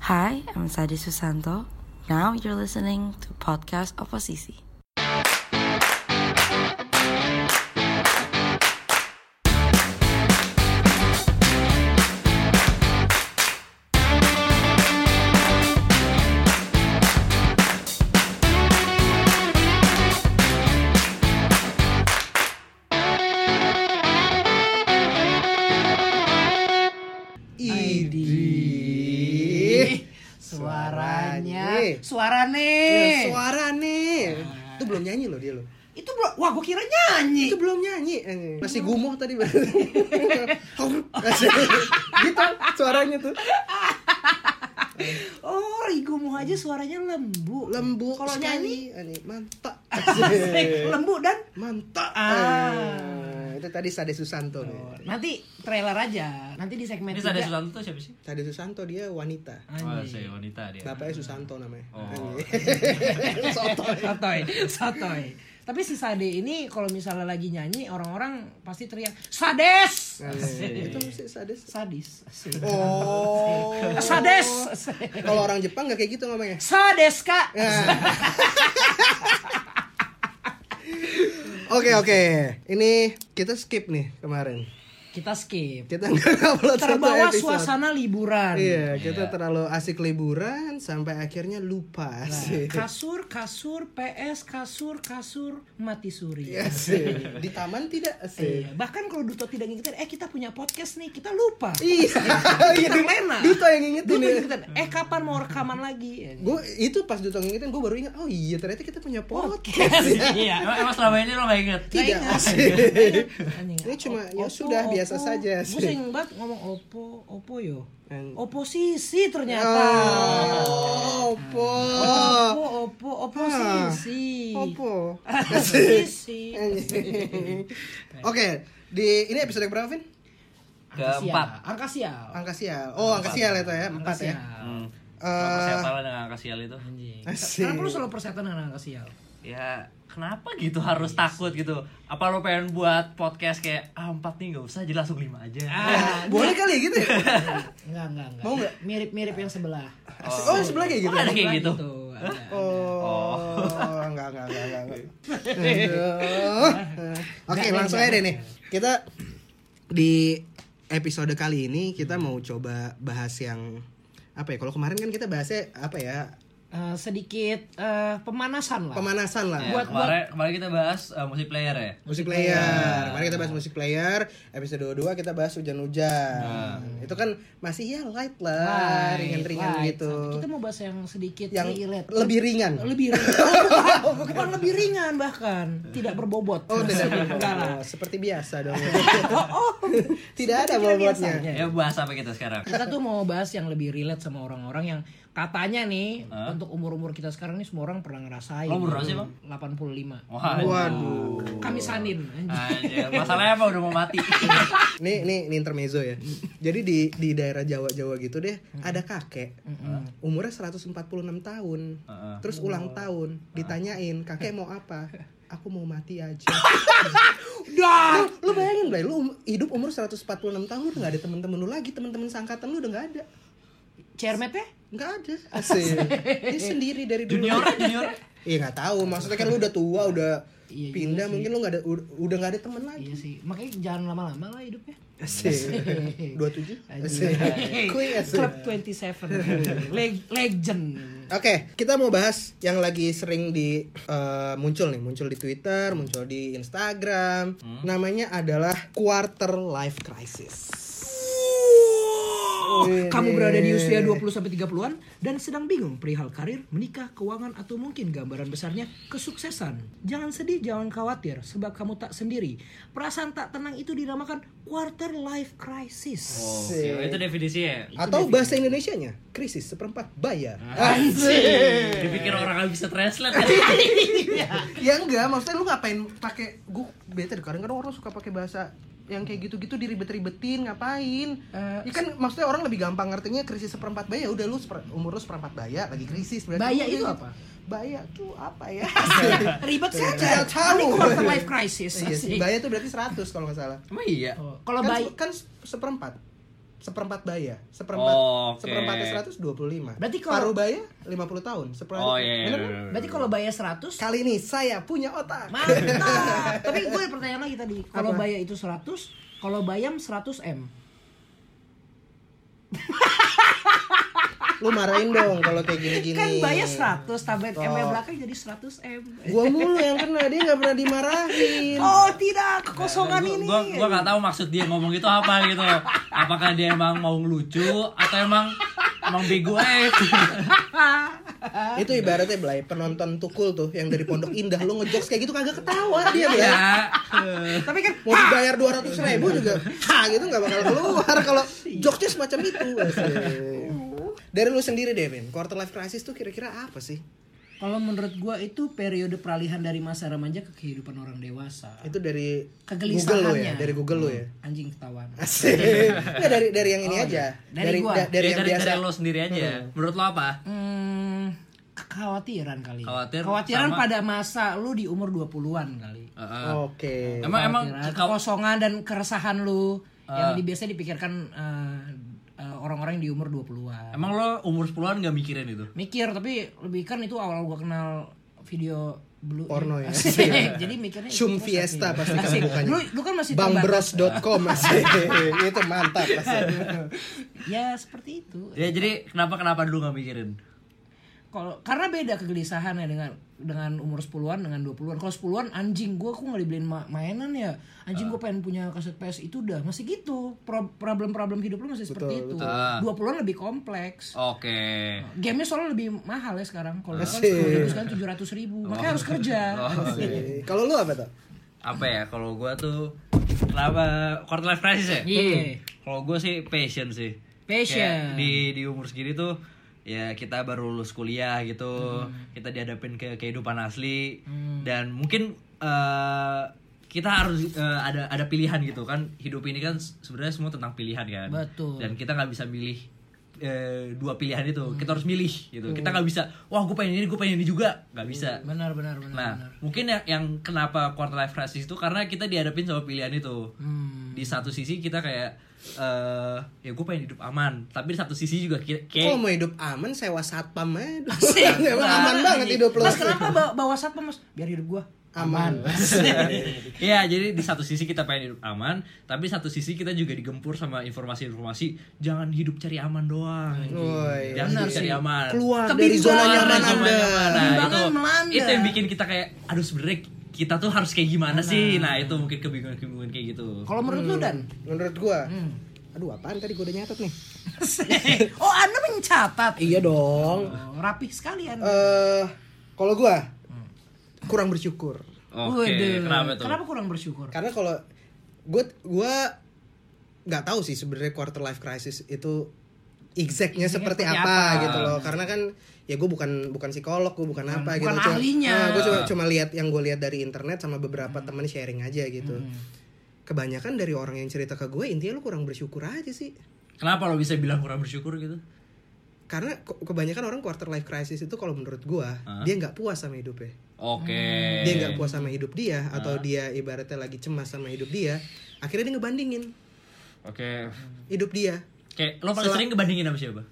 Hi, I'm Sadi Susanto. Now you're listening to Podcast Oposisi. Idi suaranya Suaranya. Iya, suarane Eh. Suara nih Itu belum nyanyi loh dia loh itu bro wah gue kira nyanyi Itu belum nyanyi eh. Masih gumoh tadi berarti Gitu suaranya tuh oh Rigo mau aja suaranya lembu Lembu kalau nyanyi sekali. Ini, Mantap asik, lembu dan Mantap Ah. Eh, Itu tadi Sade Susanto nih. nanti trailer aja nanti di segmen Ini ada tiga. Susanto tuh siapa sih? Sade Susanto dia wanita Oh, Anjing. saya wanita dia. Bapaknya Susanto namanya Oh. Anjing. Sotoy. Sotoy, sotoy. Tapi si Sade ini kalau misalnya lagi nyanyi orang-orang pasti teriak Sades, Anjing. Itu mesti Gitu Sade sadis, Asik. Oh Sades, Kalau orang Jepang gak kayak gitu ngomongnya Sades kak. Eh. Oke oke, ini kita skip nih kemarin. Kita skip. Kita nggak upload satu Terbawa episode. suasana liburan. Iya, kita terlalu asik liburan sampai akhirnya Nah, lupa sih. kasur kasur PS kasur kasur mati suri Iya sih. Di taman tidak sih. Iya, bahkan kalau Duto tidak ngingetin eh kita punya podcast nih kita lupa Iya, iya. Kita lena. Duto yang ngingetin Duto ya. ngingetin eh kapan mau rekaman lagi Ya, gitu. Nah, Gue itu pas Duto ngingetin gue baru ingat, oh iya ternyata kita punya podcast. podcast iya Emang, emang selama ini lo gak inget? Tidak Nggak ingat. asik. Anjing, Ini cuma, Oppo, ya sudah, biasa saja sih. Gue sering banget ngomong Oppo, Oppo yo. An- Oposisi Oh, ternyata. Oh, po. Oppo, Oppo, oposisi. Ah, Opo. Oposisi. Anjing. Oke, di ini episode berapa, Vin? Keempat. Angka sial. Angka sial. Oh, angka sial itu ya, Angka empat ya. sial. Hmm. Eh. Kesehatan dengan angka sial itu. Anjing. Asik. Kenapa lu selalu persetan dengan angka sial? Ya kenapa gitu harus takut gitu? Apa lo pengen buat podcast kayak ah empat nih gak usah jadi langsung lima aja. Ah, Boleh kali ya gitu ya? Enggak, enggak, enggak. Mau nggak? Mirip-mirip yang sebelah. Asik. Oh, sebelah kayak gitu. Oh, ada kayak gitu. ada. Oh, enggak enggak enggak enggak. enggak. Aduh. Oke, langsung aja deh nih. Kita di episode kali ini kita mau coba bahas yang apa ya? Kalau kemarin kan kita bahasnya apa ya? Eh, sedikit eh, pemanasan lah. Pemanasan lah. Ya, Buat- kemarin, kemarin kita bahas eh, musik player ya. musik Iya. player. Mari kita bahas musik player. Episode 22 kita bahas hujan-hujan. Itu kan masih ya light lah, Nah. Light, ringan-ringan light. gitu. Kita mau bahas yang sedikit Yang relate. lebih ringan. lebih ringan. Oh, bukan. Bukan lebih ringan bahkan, tidak berbobot. Oh, tidak Enggak Oh, lah. seperti biasa dong. Oh, tidak ada Seperti bobotnya. biasanya. Ya bahas apa kita sekarang? Kita tuh mau bahas yang lebih relate sama orang-orang yang katanya nih untuk umur-umur kita sekarang nih semua orang pernah ngerasain. Lo Oh, umur berapa sih, Bang? 85. Waduh. Waduh. Kami sanin. Anjir, masalahnya apa udah mau mati. Nih, nih, nih intermezzo ya. Jadi di di daerah Jawa-Jawa gitu deh, ada kakek. Umurnya 146 tahun. Heeh. Terus ulang tahun, ditanyain, "Kakek mau apa?" Aku mau mati aja. Dah. lu bayangin Blay, lu um- hidup umur 146 tahun udah gak ada temen-temen lu lagi temen-temen sangkatan lu udah gak ada Cermetnya? nggak ada asik dia sendiri dari dulu Junior, junior. iya nggak tahu maksudnya kan lu udah tua udah Iya juga pindah sih. mungkin lu nggak ada ud- udah nggak ada temen lagi Iya sih. Makanya jangan lama-lama lah hidupnya. asik dua tujuh asik Kuy, asik Club 27. Leg- legend. Oke, kita mau bahas yang lagi sering di eh, muncul nih, muncul di Twitter, muncul di Instagram. Hmm? Namanya adalah quarter life crisis. Wih, Kamu berada di nih. usia 20 sampai 30-an dan sedang bingung perihal karir, menikah, keuangan atau mungkin gambaran besarnya kesuksesan. Jangan sedih, jangan khawatir sebab kamu tak sendiri. Perasaan tak tenang itu dinamakan quarter life crisis. Oh, itu definisi ya. Atau bahasa Indonesianya, krisis seperempat bayar. Anjir. Dipikir orang gak bisa translate. kan? Iya, ya enggak, maksudnya lu ngapain pakai gua bete deh, kadang-kadang orang suka pakai bahasa yang kayak gitu-gitu diribet-ribetin ngapain? Eh, ya kan maksudnya orang lebih gampang ngertinya krisis seperempat bayar. Ya Udah lu seper- umur lu seperempat bayar lagi krisis berarti. Baya lu itu udah- apa? Iya, Baya tuh apa ya? Ribet sih. Tidak Iya, tahu. Ini quarter life crisis. iya sih, baya tuh berarti 100 kalau nggak salah. Emang iya? Oh, Kalau kan, baik se- kan se- seperempat. seperempat baya seperempat Oh, oke. seperempatnya 125 Berarti kalau- paruh baya 50 tahun seperempat Oh iya. iya, Bener iya, kan? iya. Berarti kalau bayar 100 kali ini saya punya otak Mantap. Tapi gue ada pertanyaan lagi tadi. Kalau bayar itu 100, kalau bayam 100 M. lu marahin dong kalau kayak gini-gini Kan bayar 100, tablet M Oh. belakang jadi 100 M. gua mulu yang kena dia nggak pernah dimarahin Oh, tidak, kekosongan Gua- ini. Gua gua nggak tahu maksud dia ngomong itu apa gitu. Apakah dia emang mau lucu atau emang emang bego aja? gitu. itu ibaratnya belai penonton tukul tuh yang dari pondok indah lu ngejokes kayak gitu kagak ketawa dia belai ya. Tapi kan mau dibayar dua ratus ribu juga ha gitu nggak bakal keluar kalau jokesnya semacam itu Asik. dari lu sendiri deh Vin quarter life crisis tuh kira-kira apa sih kalau menurut gua itu periode peralihan dari masa remaja ke kehidupan orang dewasa. itu dari Google Kegelisahannya. lu ya dari Google lu ya Anjing ketahuan. Asik. Nggak, dari dari yang ini aja Oh, Dari dari gua. da- dari Dari, yang ya dari, biasa lo sendiri aja. Menurut lo apa? Hmm, kekhawatiran kali. ya. Khawatir Kekhawatiran sama- pada masa lu di umur 20-an kali. Heeh. oke Emang emang Kekhawatiran, kau kekosongan dan keresahan lu yang di- biasa dipikirkan eh, eh, orang-orang di umur 20-an. emang lo umur 10-an gak mikirin itu? Mikir tapi lebih kan itu awal gua kenal video blue Porno ya. Jadi mikirnya itu Shum terus Fiesta tapi- pasti kan Asik. bukannya. Lu, lu kan masih terbatas. bangbros.com asik. itu mantap asik. Ya seperti itu. Ya jadi kenapa kenapa dulu gak mikirin? Kalau karena beda kegelisahannya dengan dengan umur 10-an dengan 20-an. Kalau 10-an anjing gua aku nggak dibeliin ma- mainan ya. Anjing gua Ah. pengen punya kaset PS itu udah masih gitu. Pro- Problem-problem hidup lu masih seperti itu. 20-an lebih kompleks. Oke. Gamenya soalnya lebih mahal ya sekarang. Kalau kan Asik. Oh. sekarang tujuh ratus ribu, makanya harus kerja. Asik. kalau lu apa tuh Apa ya kalau gua tuh kenapa quarter life crisis ya? Iya. Kalau gua sih passion sih. Passion. Kayak di di umur segini tuh ya kita baru lulus kuliah gitu. Hmm. Kita dihadapin ke kehidupan asli dan mungkin eh, kita harus eh, ada ada pilihan gitu kan. Hidup ini kan se- sebenarnya semua tentang pilihan kan. Betul. Dan kita nggak bisa milih eh, dua pilihan itu. Hmm. Kita harus milih gitu. Kita nggak bisa, wah gue pengen ini, gue pengen ini juga. nggak bisa. Benar benar benar. Nah, benar. mungkin yang, yang kenapa quarter life crisis itu karena kita dihadapin sama pilihan itu. Hmm. Di satu sisi kita kayak eh ya gue pengen hidup aman, tapi di satu sisi juga ki- Kok kayak mau hidup aman sewa satpam aja dulu. Emang aman banget hidup lu. Mas kenapa bawa, bawa satpam mas? Biar hidup gua Aman. Iya, jadi di satu sisi kita pengen hidup aman, tapi di satu sisi kita juga digempur sama informasi-informasi jangan hidup cari aman doang. Woi. Jangan hidup cari aman. Keluar dari Kebingungan. zona nyaman Zona Anda. nyaman. Nah, Kebingungan itu- melanda. itu yang bikin kita kayak aduh sebenernya kita tuh harus kayak gimana sih? Nah, itu mungkin kebingungan-kebingungan kayak gitu. Kalau menurut Hmm. lu dan? Menurut gua. Aduh, apaan tadi gua udah nyatet nih. oh anda mencatat. Iya dong. Oh, rapih sekalian. Eh, kalau gua kurang bersyukur. Oke, kenapa tuh? Kenapa kurang bersyukur? Karena kalau gua gua nggak tahu sih sebenarnya quarter life crisis itu exactnya seperti seperti apa, apa. Hmm. gitu loh karena kan ya gue bukan bukan psikolog gue bukan apa gitu bukan Cuma- ahlinya. Hmm. Nah, gua cuma cuma lihat yang gue lihat dari internet sama beberapa teman sharing aja gitu kebanyakan dari orang yang cerita ke gue intinya lu kurang bersyukur aja sih Kenapa lo bisa bilang kurang bersyukur gitu? karena ke- kebanyakan orang quarter life crisis itu kalau menurut gua dia nggak puas sama hidupnya Oke. Eh. Hmm. dia nggak puas sama hidup dia atau dia ibaratnya lagi cemas sama hidup dia akhirnya dia ngebandingin Oke. hidup dia Kayak lo paling sering ngebandingin sama siapa?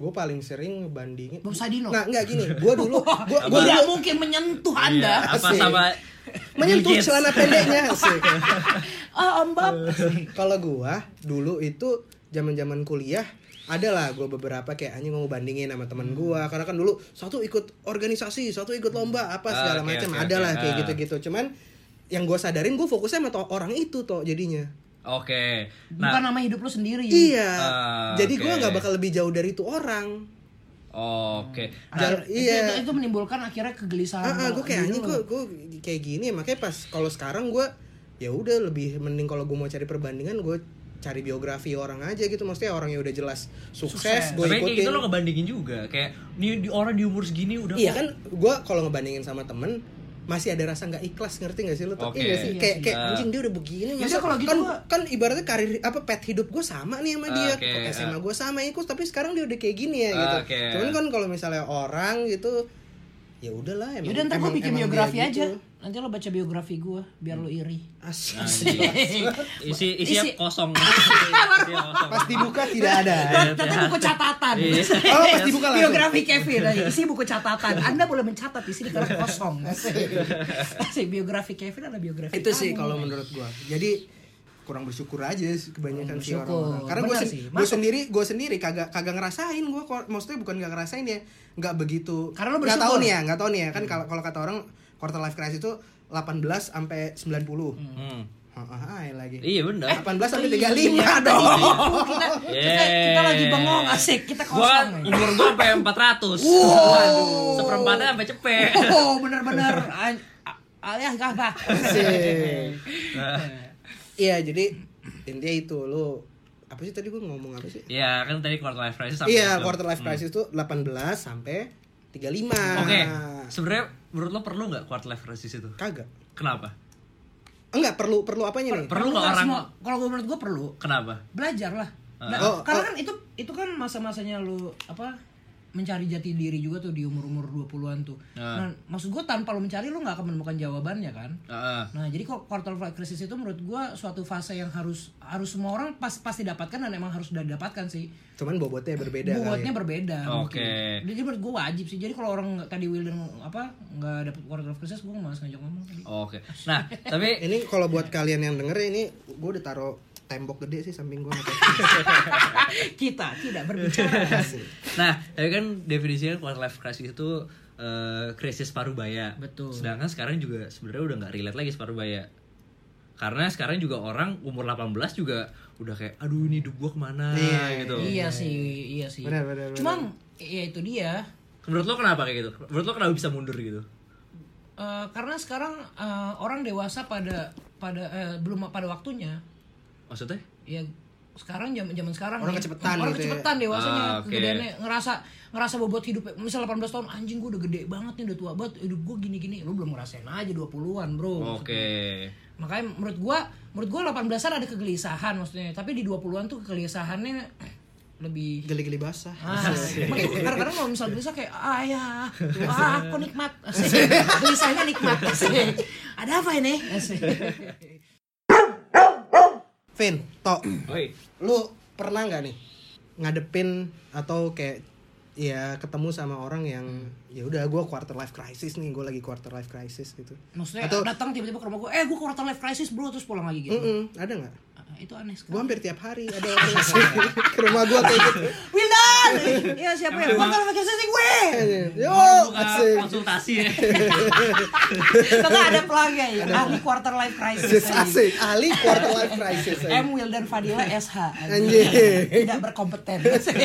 gue paling sering ngebandingin Bob Sadino. Oh, nggak nggak gini gue dulu gue gue Tidak mungkin menyentuh anda. Iya, apa Asik. sama menyentuh Bill Gates? celana pendeknya asik. Ah ambab. Nah. kalau gue dulu itu zaman zaman kuliah adalah gue beberapa kayak anjing gua mau bandingin sama teman gue karena kan dulu satu ikut organisasi satu ikut lomba apa Ah, segala oke, macam oke, adalah oke. kayak Ah. gitu gitu cuman yang gue sadarin gue fokusnya sama to- orang itu toh jadinya Oke. Bukan Nah, nama hidup lu sendiri. Iya. Ah, Jadi gua oke. nggak bakal lebih jauh dari itu orang. oke. Nah, Jar- Itu- iya. Itu, itu menimbulkan akhirnya kegelisahan. Ah, ah, lu gua kayak diri anjing lu. gua gua kayak gini makanya pas kalau sekarang gua ya udah lebih mending kalau gua mau cari perbandingan gua cari biografi orang aja gitu maksudnya orang yang udah jelas sukses, gua tapi kayak ikutin. gitu lo ngebandingin juga. Kayak nih di orang di umur segini udah Iya kan gua kalau ngebandingin sama temen masih ada rasa nggak ikhlas ngerti nggak sih lo tuh Oke. Iya nggak sih Iya kayak sih. kayak Ah. anjing dia udah begini Yaudah, masa kalau gitu kan gua- kan ibaratnya karir apa pet hidup gue sama nih sama dia Oke, Kok SMA ah. gue sama ikut tapi sekarang dia udah kayak gini ya gitu Oke. cuman kan kalau misalnya orang gitu ya udahlah emang Yaudah ntar gue emang- bikin emang dia biografi gitu. aja. Nanti lo baca biografi gue, biar lo iri. Nah, gitu. Asli. isi isinya Isi- kosong Isinya kosong. pas dibuka tidak ada Iya, Tapi iya. buku catatan. Iya. oh pas dibuka langsung Biografi Kevin, aja. isi buku catatan. Anda boleh mencatat di sini karena kosong. Asik, biografi Kevin ada biografi. itu sih kamu. kalau menurut gua jadi kurang bersyukur aja sih kebanyakan Kurang sih bersyukur. orang karena gue Benar sen sih. gua Masa- sendiri gue sendiri kagak kagak ngerasain gue maksudnya bukan nggak ngerasain ya nggak begitu Karena lu nggak tahu bersyukur. Hmm. nih ya nggak tahu nih ya kan kalau kalau kata orang quarter life crisis itu 18 sampai 90 puluh Hmm. lagi iya bener 18 sampai Iya, 35 dong Oh, kita, kita, kita lagi bengong asik, kita Gua kan ya? kosong. umur gua sampai 400. Waduh. Seperempatnya sampai cepet. Oh, benar-benar. Ayah gak apa. Asik. iya jadi intinya itu lu apa sih tadi gue ngomong apa sih Iya, kan tadi quarter life crisis sampai iya itu. quarter life crisis itu 18 sampai 35 Oke. Nah. Sebenarnya menurut lo perlu nggak quarter life crisis itu? kagak Kenapa? enggak perlu perlu apanya nih Perlu nggak orang Kalau gua menurut gue perlu. Kenapa? belajar lah. Nah, Oh, karena oh. kan itu itu kan masa-masanya lu apa mencari jati diri juga tuh di umur-umur 20-an tuh. Nah, maksud gua tanpa lu mencari lu nggak akan menemukan jawabannya kan. Heeh. Nah, jadi kok quarter life crisis itu menurut gua suatu fase yang harus harus semua orang pas pasti dapatkan dan emang harus udah dapatkan sih. cuman bobotnya berbeda Buatnya kali ya. berbeda. Oke. mungkin. Jadi menurut gua wajib sih. Jadi kalau orang nggak- tadi Wildan apa nggak dapat quarter life crisis gua malas ngajak ngomong tadi. Oke. Nah, tapi ini kalau buat kalian yang denger ini gue udah taruh tembok gede sih samping gue Kita tidak berbicara. nah, tapi kan definisinya quarter life crisis itu eh, krisis paruh baya. Betul. Sedangkan sekarang juga sebenarnya udah nggak relate lagi separuh baya. Karena sekarang juga orang umur 18 juga udah kayak aduh ini hidup gua kemana gitu. Iya sih, iya sih. Benar, benar, benar. Cuman ya itu dia. Menurut lo kenapa kayak gitu? Menurut lo kenapa bisa mundur gitu? Eh, karena sekarang eh, orang dewasa pada pada eh, belum pada waktunya. Maksudnya? Ya sekarang zaman zaman sekarang Orang nih, kecepetan orang gitu ya. kecepetan dewasanya Ah, oke. kegedeannya, ngerasa ngerasa bobot hidup misal 18 tahun anjing gue udah gede banget nih udah tua banget hidup gue gini gini lu belum ngerasain aja 20-an bro Oh. makanya menurut gua menurut gua 18-an ada kegelisahan maksudnya tapi di 20-an tuh kegelisahannya lebih geli-geli basah Ah, Iya, emang itu kadang-kadang kalau misal gelisah kayak ayah, wah aku nikmat, Asik. gelisahnya nikmat, Asik. ada apa ini? Asik. Vin Tok Oi. lu pernah nggak nih ngadepin atau kayak ya ketemu sama orang yang ya udah gue quarter life crisis nih gue lagi quarter life crisis gitu Maksudnya Atau- datang tiba-tiba ke rumah gue, eh gue quarter life crisis bro, terus pulang lagi gitu. Mm-mm, ada nggak Ah, Itu gue aneh sekali. hampir tiap hari ada orang yang ke rumah gue kayak gitu Wildan, iya siapa ya? Quarter life crisis sih gue. Iya, yo Oh, Buka asik konsultasi ya. Kagak ada pelangnya ya. Ahli quarter life crisis. asik anjing. ahli quarter life crisis eh. Nah, M Wildan Fadila SH. anjing. Anjing. Tidak berkompeten. Asik.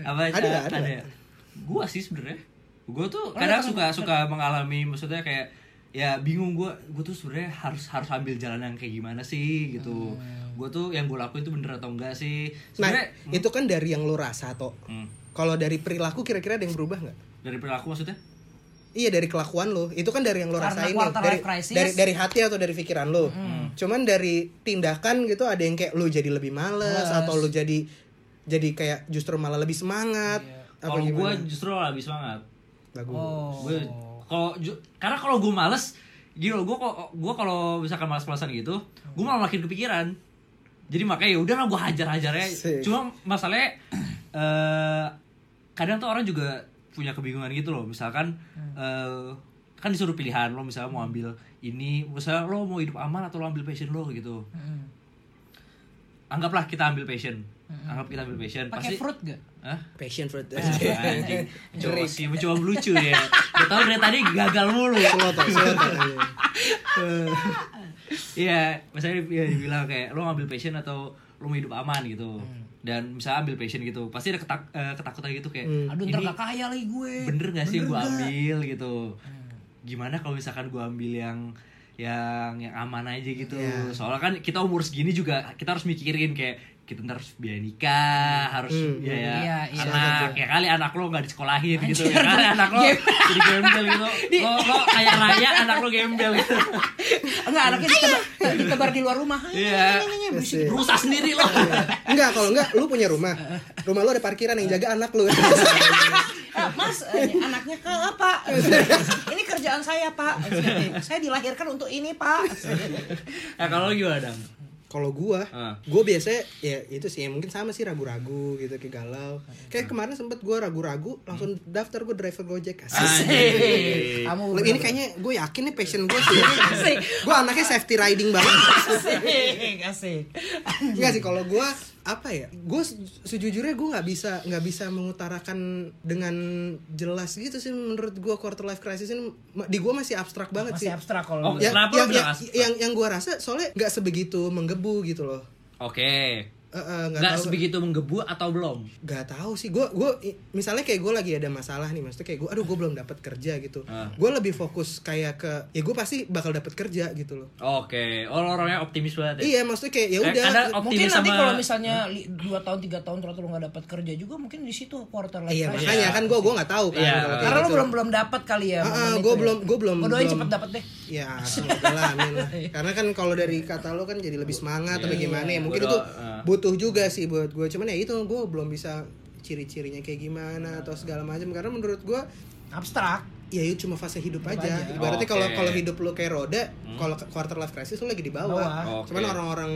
Apa Ada nggak? Ada Oh, ya? Gua sih sebenarnya. Gua tuh kadang suka suka mengalami maksudnya kayak ya bingung gua gua tuh sebenarnya harus harus ambil jalan yang kayak gimana sih gitu. Gua tuh yang gua lakuin tuh bener atau enggak sih? Hmm. nah Sebenarnya itu kan dari yang lu rasa toh Hmm. kalau dari perilaku kira-kira ada yang berubah nggak dari perilaku maksudnya? Iya dari kelakuan lo, itu kan dari yang lo Karena rasain nih, quarter dari, life crisis. dari dari hati atau dari pikiran lo. Cuman dari tindakan gitu ada yang kayak lo jadi lebih males atau lo jadi jadi kayak justru malah lebih semangat. Apa Kalau gua gimana? justru lebih semangat. Bagus. Gua kalau ju- karena kalau gua males gini loh, gua kok gua kalau misalkan malas-malasan gitu, gua malah makin kepikiran. Jadi makanya ya udahlah gua hajar-hajar aja. Sih. Cuma masalahnya eh kadang tuh orang juga punya kebingungan gitu loh. Misalkan eh, kan disuruh pilihan lo misalnya mau ambil ini, misalnya lo mau hidup aman atau lo ambil passion lo gitu. Anggaplah kita ambil passion. Anggap kita ambil passion. Pakai fruit gak? Hah? Passion fruit. Iya, iya. Anjing, coba sih, coba lucu ya. Udah tau dari tadi gagal mulu. Slow talk, slow talk. Iya, misalnya dia dibilang kayak lo ngambil passion atau lo mau hidup aman gitu. Hmm. Dan misalnya ambil passion gitu, pasti ada ketak- eh, ketakutan gitu kayak Hmm. Aduh ntar gak kaya lagi gue. bener gak sih gue ambil gitu. Gimana kalau misalkan gue ambil yang yang yang aman aja gitu. Soalnya kan kita umur segini juga kita harus mikirin kayak kita ntar harus biaya nikah harus biaya Iya, iya. anak ya kali anak lo nggak disekolahin gitu ya kali anak lo jadi gembel gitu lo lo kayak raya anak lo gembel gitu Enggak, anaknya ditebar, ditebar di luar rumah. iya Asik. rusak sendiri lo Iya. Enggak, kalau enggak lu punya rumah. Rumah lu ada parkiran yang jaga anak lu. Ah, Mas, eh, anaknya ke apa? Ini kerjaan saya, Pak. Saya dilahirkan untuk ini, Pak. ya kalau lo gimana dong kalau gua, Ah. gua biasanya ya itu sih ya mungkin sama sih ragu-ragu gitu kayak galau. Kayak kemarin sempet gua ragu-ragu langsung daftar gua driver Gojek. Ah. Asik. Anjing. Kamu Lu ini kayaknya gue yakin nih passion gue sih. gue anaknya safety riding banget. asik, asik. Enggak sih kalau gue apa ya? Gue sejujurnya gue nggak bisa nggak bisa mengutarakan dengan jelas gitu sih menurut gue quarter life crisis ini ma- di gue masih abstrak banget Masih sih. abstrak kalau Oh, gue. Ya, yang, Kenapa lu yang, bilang abstrak? yang yang gue rasa soalnya nggak sebegitu menggebu gitu loh. oke Eh, eh, nggak nggak tahu. sebegitu menggebu atau belum Gak tahu sih, gue gue misalnya kayak gue lagi ada masalah nih, maksudnya kayak gue, aduh gue belum dapat kerja gitu, Ah. gue lebih fokus kayak ke, ya gue pasti bakal dapat kerja gitu loh. Oke, oh lo orangnya optimis banget ya? Iya, maksudnya kayak ya Eh, udah. Anda Mungkin optimis nanti sama kalau misalnya 2 tahun 3 tahun terus lu nggak dapat kerja juga mungkin di situ quarter life. Iya, crisis. makanya kan gue gue nggak tahu kan. Iya, kalau kayak Karena lu gitu. belum belum dapat kali ya. Ah, ah, momen itu gua ya. belum- gua belum- Gua doain belum. cepet dapat deh. Ya, semoga lah, amin lah. Iya. Karena kan kalau dari kata lo kan jadi lebih semangat atau gimana ya. Mungkin Iya, itu Gua doa, ah. butuh juga sih buat gue. Cuman ya itu gue belum bisa ciri-cirinya kayak gimana atau segala macam. Karena menurut gue Abstrak. ya itu cuma fase hidup aja. aja. Ibaratnya Oke. kalau kalau hidup lo kayak roda, kalau quarter life crisis lo lagi di bawah. Bawah. Cuman Oke. orang-orang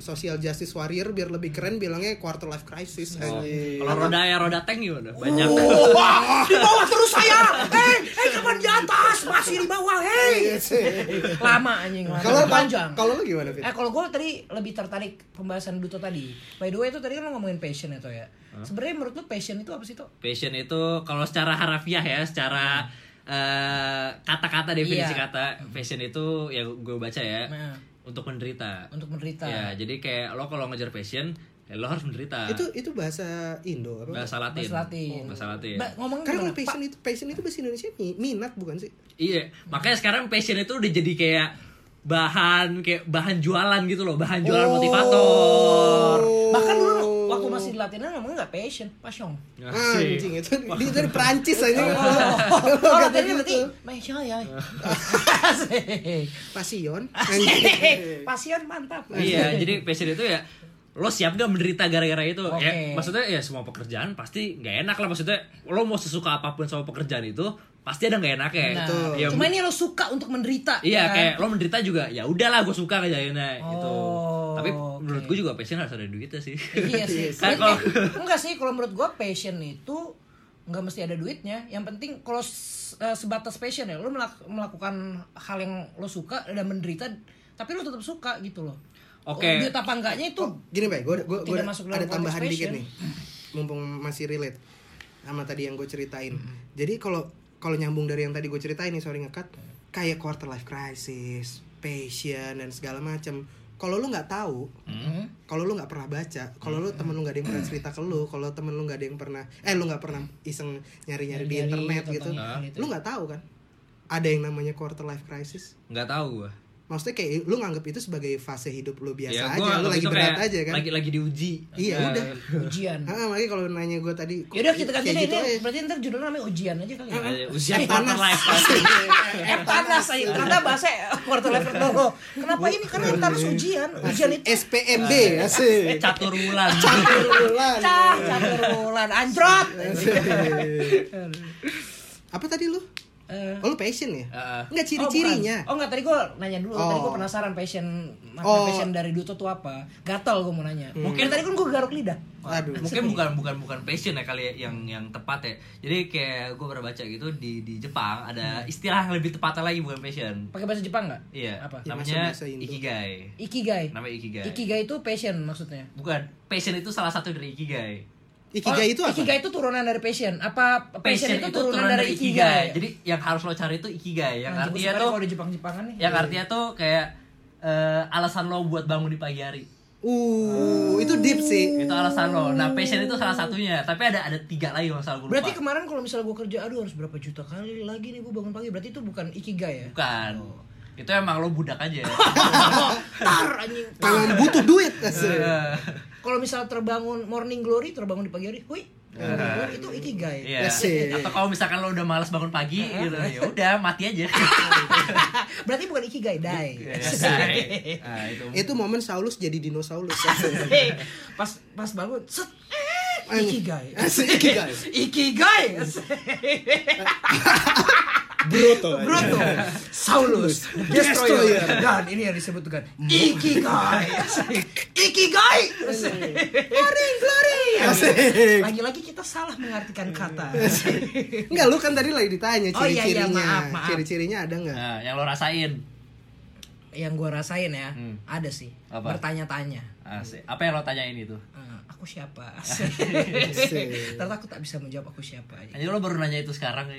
social justice warrior biar lebih keren bilangnya quarter life crisis. Iya. Oh, anjing. Kalau roda ya roda tank gimana? Oh. Banyak. Wah, di bawah terus saya. Eh, eh kapan di atas? Masih di bawah, hei. Lama anjing. lama. Iya Kalau panjang. kalau lo gimana Fit? Eh kalau gue tadi lebih tertarik pembahasan Duto tadi. By the way itu tadi kan lo ngomongin passion ya Toh ya. Sebenarnya menurut lo passion itu apa sih Toh? Passion itu kalau secara harafiah ya, secara eh, kata-kata definisi Iya. kata passion itu ya gue baca ya Nah. untuk menderita. Untuk menderita. Iya, Ya, jadi kayak lo kalau ngejar passion, ya lo harus menderita. Itu itu bahasa Indo apa? bahasa Latin. Bahasa Latin. Bahasa iya. Latin. Ba- ngomongin Karena gimana? kalau passion itu passion itu bahasa Indonesia mi- minat bukan sih? Iya, makanya sekarang passion itu udah jadi kayak bahan kayak bahan jualan gitu loh, bahan jualan Oh. motivator. Bahkan dulu waktu masih di latihan ngomongnya nggak passion, passion. Ah, Ah, Anjing itu di, dari Perancis aja. Oh, gitu latihannya berarti passion ya. Asik. pasion. Anjing. Passion mantap. iya jadi passion itu ya lo siap gak menderita gara-gara itu Oke. ya maksudnya ya semua pekerjaan pasti nggak enak lah maksudnya lo mau sesuka apapun sama pekerjaan itu pasti ada nggak enaknya Nah, Betul. ya, cuma ini lo suka untuk menderita. iya kan? kayak lo menderita juga ya udahlah gue suka kerjainnya gitu Oh, tapi oke. menurut gue juga passion harus ada duitnya sih Iya sih. Kan Kan kalau- enggak sih kalau menurut gua passion itu nggak mesti ada duitnya. Yang penting kalau s- eh, sebatas passion ya lo melak- melakukan hal yang lo suka dan menderita tapi lo tetap suka gitu loh. Oke. Oh, Duit apa enggaknya itu Gini baik, gue gue Tidak masuk dalam ada konteks tambahan dikit passion. nih. Mumpung masih relate sama tadi yang gue ceritain. Jadi kalau kalau nyambung dari yang tadi gue ceritain nih, sorry ngekat, kayak quarter life crisis, passion dan segala macam. Kalau lu nggak tahu, Mm. Hmm. kalau lu nggak pernah baca, kalau lu temen lu nggak ada yang pernah cerita ke lu, kalau temen lu nggak ada yang pernah, eh lu nggak pernah iseng nyari-nyari di Nyari-nyari internet tentang gitu, hal itu. lu nggak tahu kan? Ada yang namanya quarter life crisis. nggak tahu gue Maksudnya kayak lu nganggap itu sebagai fase hidup lu biasa Iya, ya, aja, gua lu waktu lagi itu berat kayak aja kan. lagi lagi diuji Iya, Ya. udah. ujian. Ah, makanya kalau nanya gue tadi. kok Yaudah kita kayak ganti deh gitu ini. ya. aja. Berarti ntar judulnya namanya ujian aja kali ya. Eh, usia Eh, quarter panas. life kan. Eh panas aja. Iya. Karena bahasa quarter life dulu. Kenapa ini? Karena kita harus ujian. Ujian itu SPMB asik. Eh, catur bulan Bulan. cah catur bulan anjrot. Iya. Apa tadi lu? Eh, Oh, lu passion ya? Heeh. Enggak Oh, ciri-cirinya. bukan. Oh, enggak tadi gue nanya dulu. Tadi gue Oh. penasaran passion makna Oh. Hmm. passion dari Duto tuh apa? Gatel gue mau nanya. Mungkin- Mungkin tadi kan gue garuk lidah. Aduh. mungkin bukan bukan bukan passion ya kali ya, yang yang tepat ya jadi kayak gue pernah baca gitu di di Jepang Hmm. ada istilah yang lebih tepatnya lagi bukan passion Pakai bahasa Jepang nggak? iya Apa? Ya, namanya masa bahasa Indo. ikigai Ikigai. namanya ikigai Ikigai itu passion maksudnya. bukan passion itu salah satu dari ikigai Ikigai Oh, itu apa? Ikigai itu turunan dari passion. Apa passion, itu, turunan, dari ikigai? jadi yang harus lo cari itu ikigai yang Nah, gue artinya suka nih tuh kalau di Jepang-Jepangan nih. yang artinya tuh kayak eh, alasan lo buat bangun di pagi hari Uh, itu deep sih. itu alasan lo nah passion itu salah satunya tapi ada ada tiga lagi masalah gue lupa Berarti kemarin kalau misalnya gue kerja, aduh harus berapa juta kali lagi nih gue bangun pagi. Berarti itu bukan ikigai ya? bukan itu emang lo budak aja ya. tar anjing Kalau butuh duit asik. Eh, kalau misal terbangun morning glory terbangun di pagi hari hui morning glory itu ikigai Iya. Asik. Atau kalau misalkan lo udah malas bangun pagi, gitu, ya udah mati aja. berarti bukan ikigai Iya, dai nah, itu. Itu momen Saulus jadi dinosaurus. pas pas bangun set eh, Anjing. ikigai Asik, Eh, ikigai. ikigai Bruto. Bruto Iya. Saulus Destroyer Destroyer. dan ini yang disebut dengan ikigai ikigai glory glory Asik. lagi-lagi kita salah mengartikan kata Enggak, lu kan tadi lagi ditanya Oh, iya, iya, ciri-cirinya. maaf, maaf. Ciri-cirinya ada enggak? Nah, yang lo rasain. yang gua rasain ya Hmm. ada sih Apa? bertanya-tanya Asik. Apa yang lo tanyain itu? Eh, aku siapa Asik. ternyata aku tak bisa menjawab aku siapa Aja lo baru nanya itu sekarang. Ya.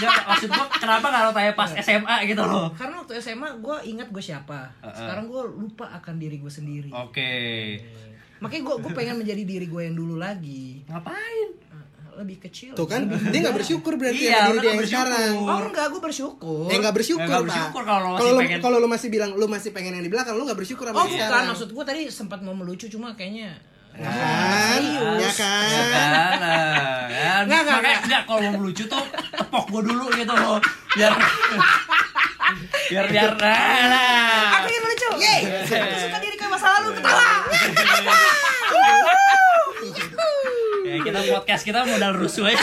Enggak, maksud gua kenapa nggak lo tanya pas SMA gitu lo? karena waktu SMA gue ingat gue siapa Heeh. sekarang gue lupa akan diri gue sendiri Oke. makanya gue gue pengen menjadi diri gue yang dulu lagi Ngapain? lebih kecil Tuh kan dia nggak bersyukur berarti Iya, ada lu diri dia nggak yang sekarang. bersyukur. oh enggak gue bersyukur Ya nggak bersyukur, nggak Pak. bersyukur kalau lu kalau masih lu, pengen- kalau lu masih bilang lu masih pengen yang di belakang, lu nggak bersyukur sama oh yang bukan sekarang. maksud gue tadi sempat mau melucu cuma kayaknya Ya kan? Ya Ya kan? kan, nah, kan? Nggak, nggak, Makanya nggak. nggak, kalau mau lucu tuh tepok gua dulu gitu lo. Biar biar biar nah, nah. aku yang lucu yeay aku suka diri gue masa lalu ketawa Ya, kita podcast kita modal rusuh aja.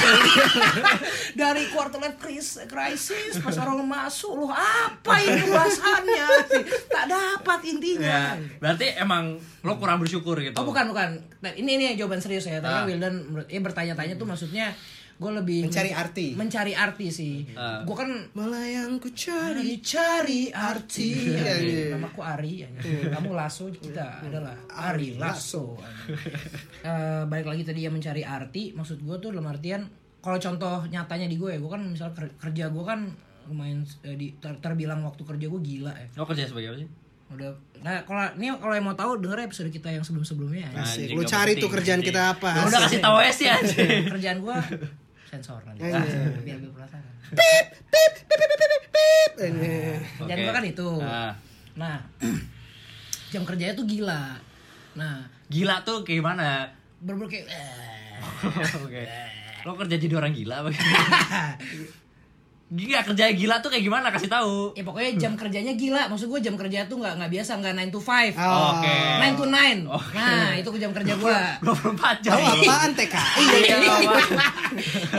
dari quarter life crisis, crisis pas orang masuk loh apa ini ulasannya tak dapat intinya ya, berarti emang lo kurang bersyukur gitu. Oh bukan bukan. Nah, ini ini jawaban serius ya. Tadi Ah. Wildan menurut- ya bertanya-tanya tuh maksudnya gue lebih Mencari arti. Mencari arti sih. Ah. Gue kan Malah yang ku cari. dicari arti. Iya, iya. Nama aku Ari. ya. Kamu Lasso kita adalah Eh. Ari Lasso. Eh, balik lagi tadi yang mencari arti. Maksud gue tuh dalam artian kalau contoh nyatanya di gue ya gue kan misal ker- kerja gue kan lumayan eh, di, ter- terbilang waktu kerja gue gila ya. Lo kerja sebagai apa sih? Udah. Nah kalau ini kalau yang mau tahu denger episode kita yang sebelum sebelumnya. Ya. Asik. Anjing, Lu gak cari penting, tuh kerjaan anjing. kita apa? Ya udah kasih tahu aja sih anjing. kerjaan gua sensor nanti Iya. biar lebih penasaran Pip, ini. kerjaan gua kan itu Ah. nah jam kerjanya tuh gila nah Gila tuh kayak gimana? berburu kayak eh. Oke. Lo kerja jadi orang gila apa gimana? Gila kerja gila tuh kayak gimana kasih tahu. ya pokoknya jam kerjanya gila maksud gua jam kerja tuh nggak nggak biasa nggak 9 to 5 Oh. Oke. 9 to 9 Oke. nah itu jam kerja gua 24 jam. Tahu apaan TKI? Iya, Pak.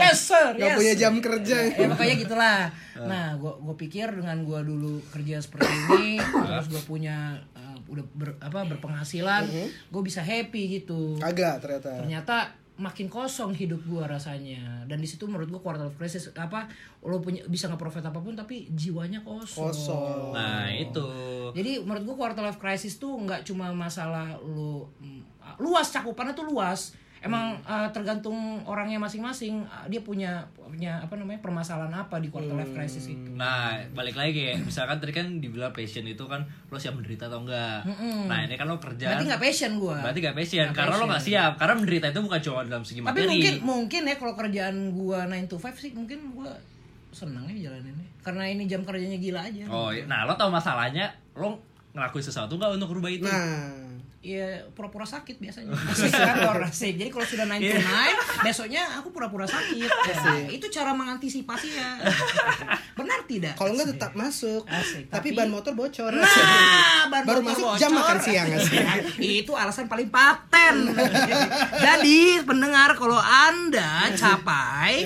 yes sir Gak yes. punya jam kerja. ya pokoknya gitulah nah gue pikir dengan gue dulu kerja seperti ini terus gue punya uh, udah ber- apa berpenghasilan Mm-hmm. gue bisa happy gitu Kagak ternyata. ternyata makin kosong hidup gue rasanya dan di situ menurut gue quarter life crisis apa lo punya bisa ngeprofit apapun tapi jiwanya kosong, Kosong. Nah, itu. jadi menurut gue quarter life crisis tuh nggak cuma masalah lo mm, luas cakupannya tuh luas emang uh, tergantung orangnya masing-masing uh, dia punya punya apa namanya permasalahan apa di quarter life crisis itu Nah, balik lagi kayak misalkan tadi kan dibilang passion itu kan lo siap menderita atau enggak. Nah, ini kan lo kerja. berarti nggak passion gue Berarti nggak passion karena lo nggak siap. Karena menderita itu bukan cuma dalam segi tapi materi. mungkin mungkin ya kalau kerjaan gue 9 to 5 sih mungkin gue seneng ya jalaninnya karena ini jam kerjanya gila aja Oh, iya. nah lo tau masalahnya lo ngelakuin sesuatu nggak untuk rubah itu? Nah, ya pura-pura sakit biasanya asik kantor asik jadi kalau sudah 9 Iya. to 9 besoknya aku pura-pura sakit ya, itu cara mengantisipasinya benar tidak kalau enggak tetap masuk. Asik, Tapi tapi- ban motor bocor. Nah, ban Baru motor masuk bocor. jam makan siang, asik. itu alasan paling paten jadi pendengar kalau anda Iya capai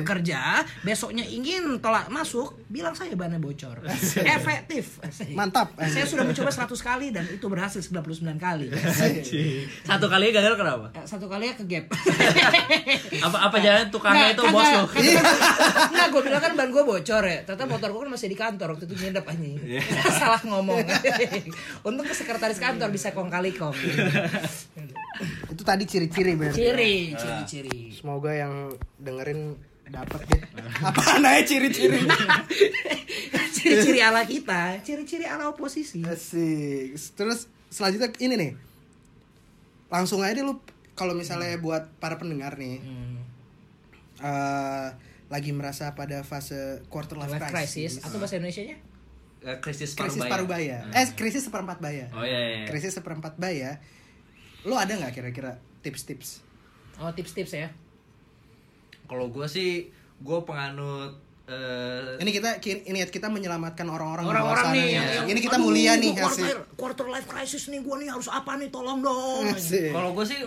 bekerja besoknya ingin tolak masuk bilang saya bannya bocor efektif Iya asik. Mantap. saya sudah mencoba 100 kali dan itu berhasil 99 kali Iya Anjing. Satu kali gagal kenapa? Eh, satu kali ya ke gap Nah, Apa apa jangan tukangnya itu bos lo? Enggak, gue Iya. bilang kan ban gue bocor ya Ternyata motor gue kan masih di kantor Waktu itu nyedap anjing Iya. Salah ngomong Untung ke sekretaris kantor bisa kong kali kong Itu tadi ciri-ciri berarti. Ciri, Iya. ciri-ciri Semoga yang dengerin dapat deh. Apaan aja ciri-ciri? Ciri-ciri ala kita Ciri-ciri ala oposisi Asik. Iya Terus selanjutnya ini nih. Langsung aja deh lu kalau misalnya buat para pendengar nih. Hmm. eh, lagi merasa pada fase quarter life, Life crisis. crisis Atau bahasa Indonesia nya eh, krisis Hmm. krisis parubaya. paruh baya eh krisis seperempat baya Oh iya, iya. krisis seperempat baya lo ada nggak kira-kira tips-tips Oh tips-tips ya. Kalau gue sih, gue penganut eh, ini kita ki- ini kita menyelamatkan orang-orang di Orang-orang luar sana nih ya. yang- yang- ini kita Aduh, mulia nih gua hasil quarter, quarter life crisis nih gua nih harus apa nih tolong dong Asik. Kalau gue sih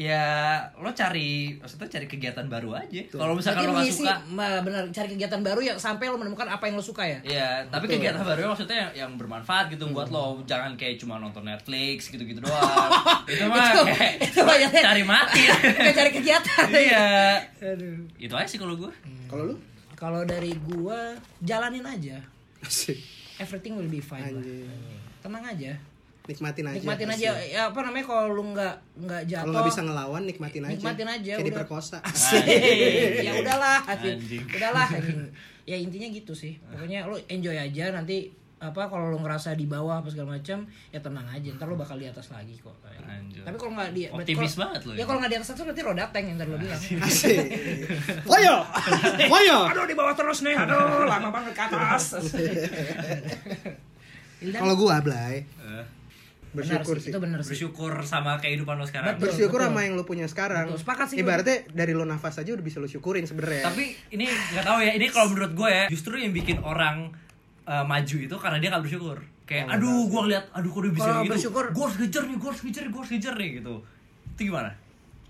ya lo cari maksudnya cari kegiatan baru aja. Kalau Berarti misalkan lo gak mengisi- suka, ma- benar cari kegiatan baru ya sampai lo menemukan apa yang lo suka ya. ya tapi kegiatan baru maksudnya yang, yang bermanfaat gitu buat lo. Jangan kayak cuma nonton Netflix gitu-gitu doang. itu mah Itu- kayak itu banyak- cari mati. Kayak cari kegiatan. iya. Itu aja sih kalau gue. kalau lu Kalau dari gua jalanin aja. Asik. Everything will be fine. lah. Tenang aja. nikmatin aja Nikmatin Asik. aja ya, apa namanya kalau lu nggak nggak jatuh. kalau nggak bisa ngelawan nikmatin aja Nikmatin aja, kayak udah. diperkosa Hei, ya udahlah anjing. Anjing. udahlah anjing. ya intinya gitu sih pokoknya lo enjoy aja nanti apa kalau lo ngerasa di bawah apa segala macam ya tenang aja ntar lo bakal di atas lagi kok Anjir. tapi kalau nggak di berarti Optimis kalau- banget lo ya ya. kalau nggak di atas terus berarti roda tank yang ntar lo bilang Asik. Woyo, woyo. aduh di bawah terus nih aduh lama banget ke atas Ildan, Kalau gua Blay, Eh, benar bersyukur sih, sih. itu benar sih bersyukur sama kehidupan lo sekarang. Betul. Bersyukur sama yang lu punya sekarang. Betul, sepakat sih gua. Ibaratnya dari lu nafas aja udah bisa lu syukurin sebenarnya. Tapi ini nggak tahu ya. Ini kalau menurut gue ya, justru yang bikin orang eh, maju itu karena dia nggak bersyukur. Kayak, aduh, gue ngeliat, aduh, kok dia bisa Kalau gitu. bersyukur- gue harus ngejar nih, gue harus ngejar, gue harus ngejar nih gitu. Itu gimana?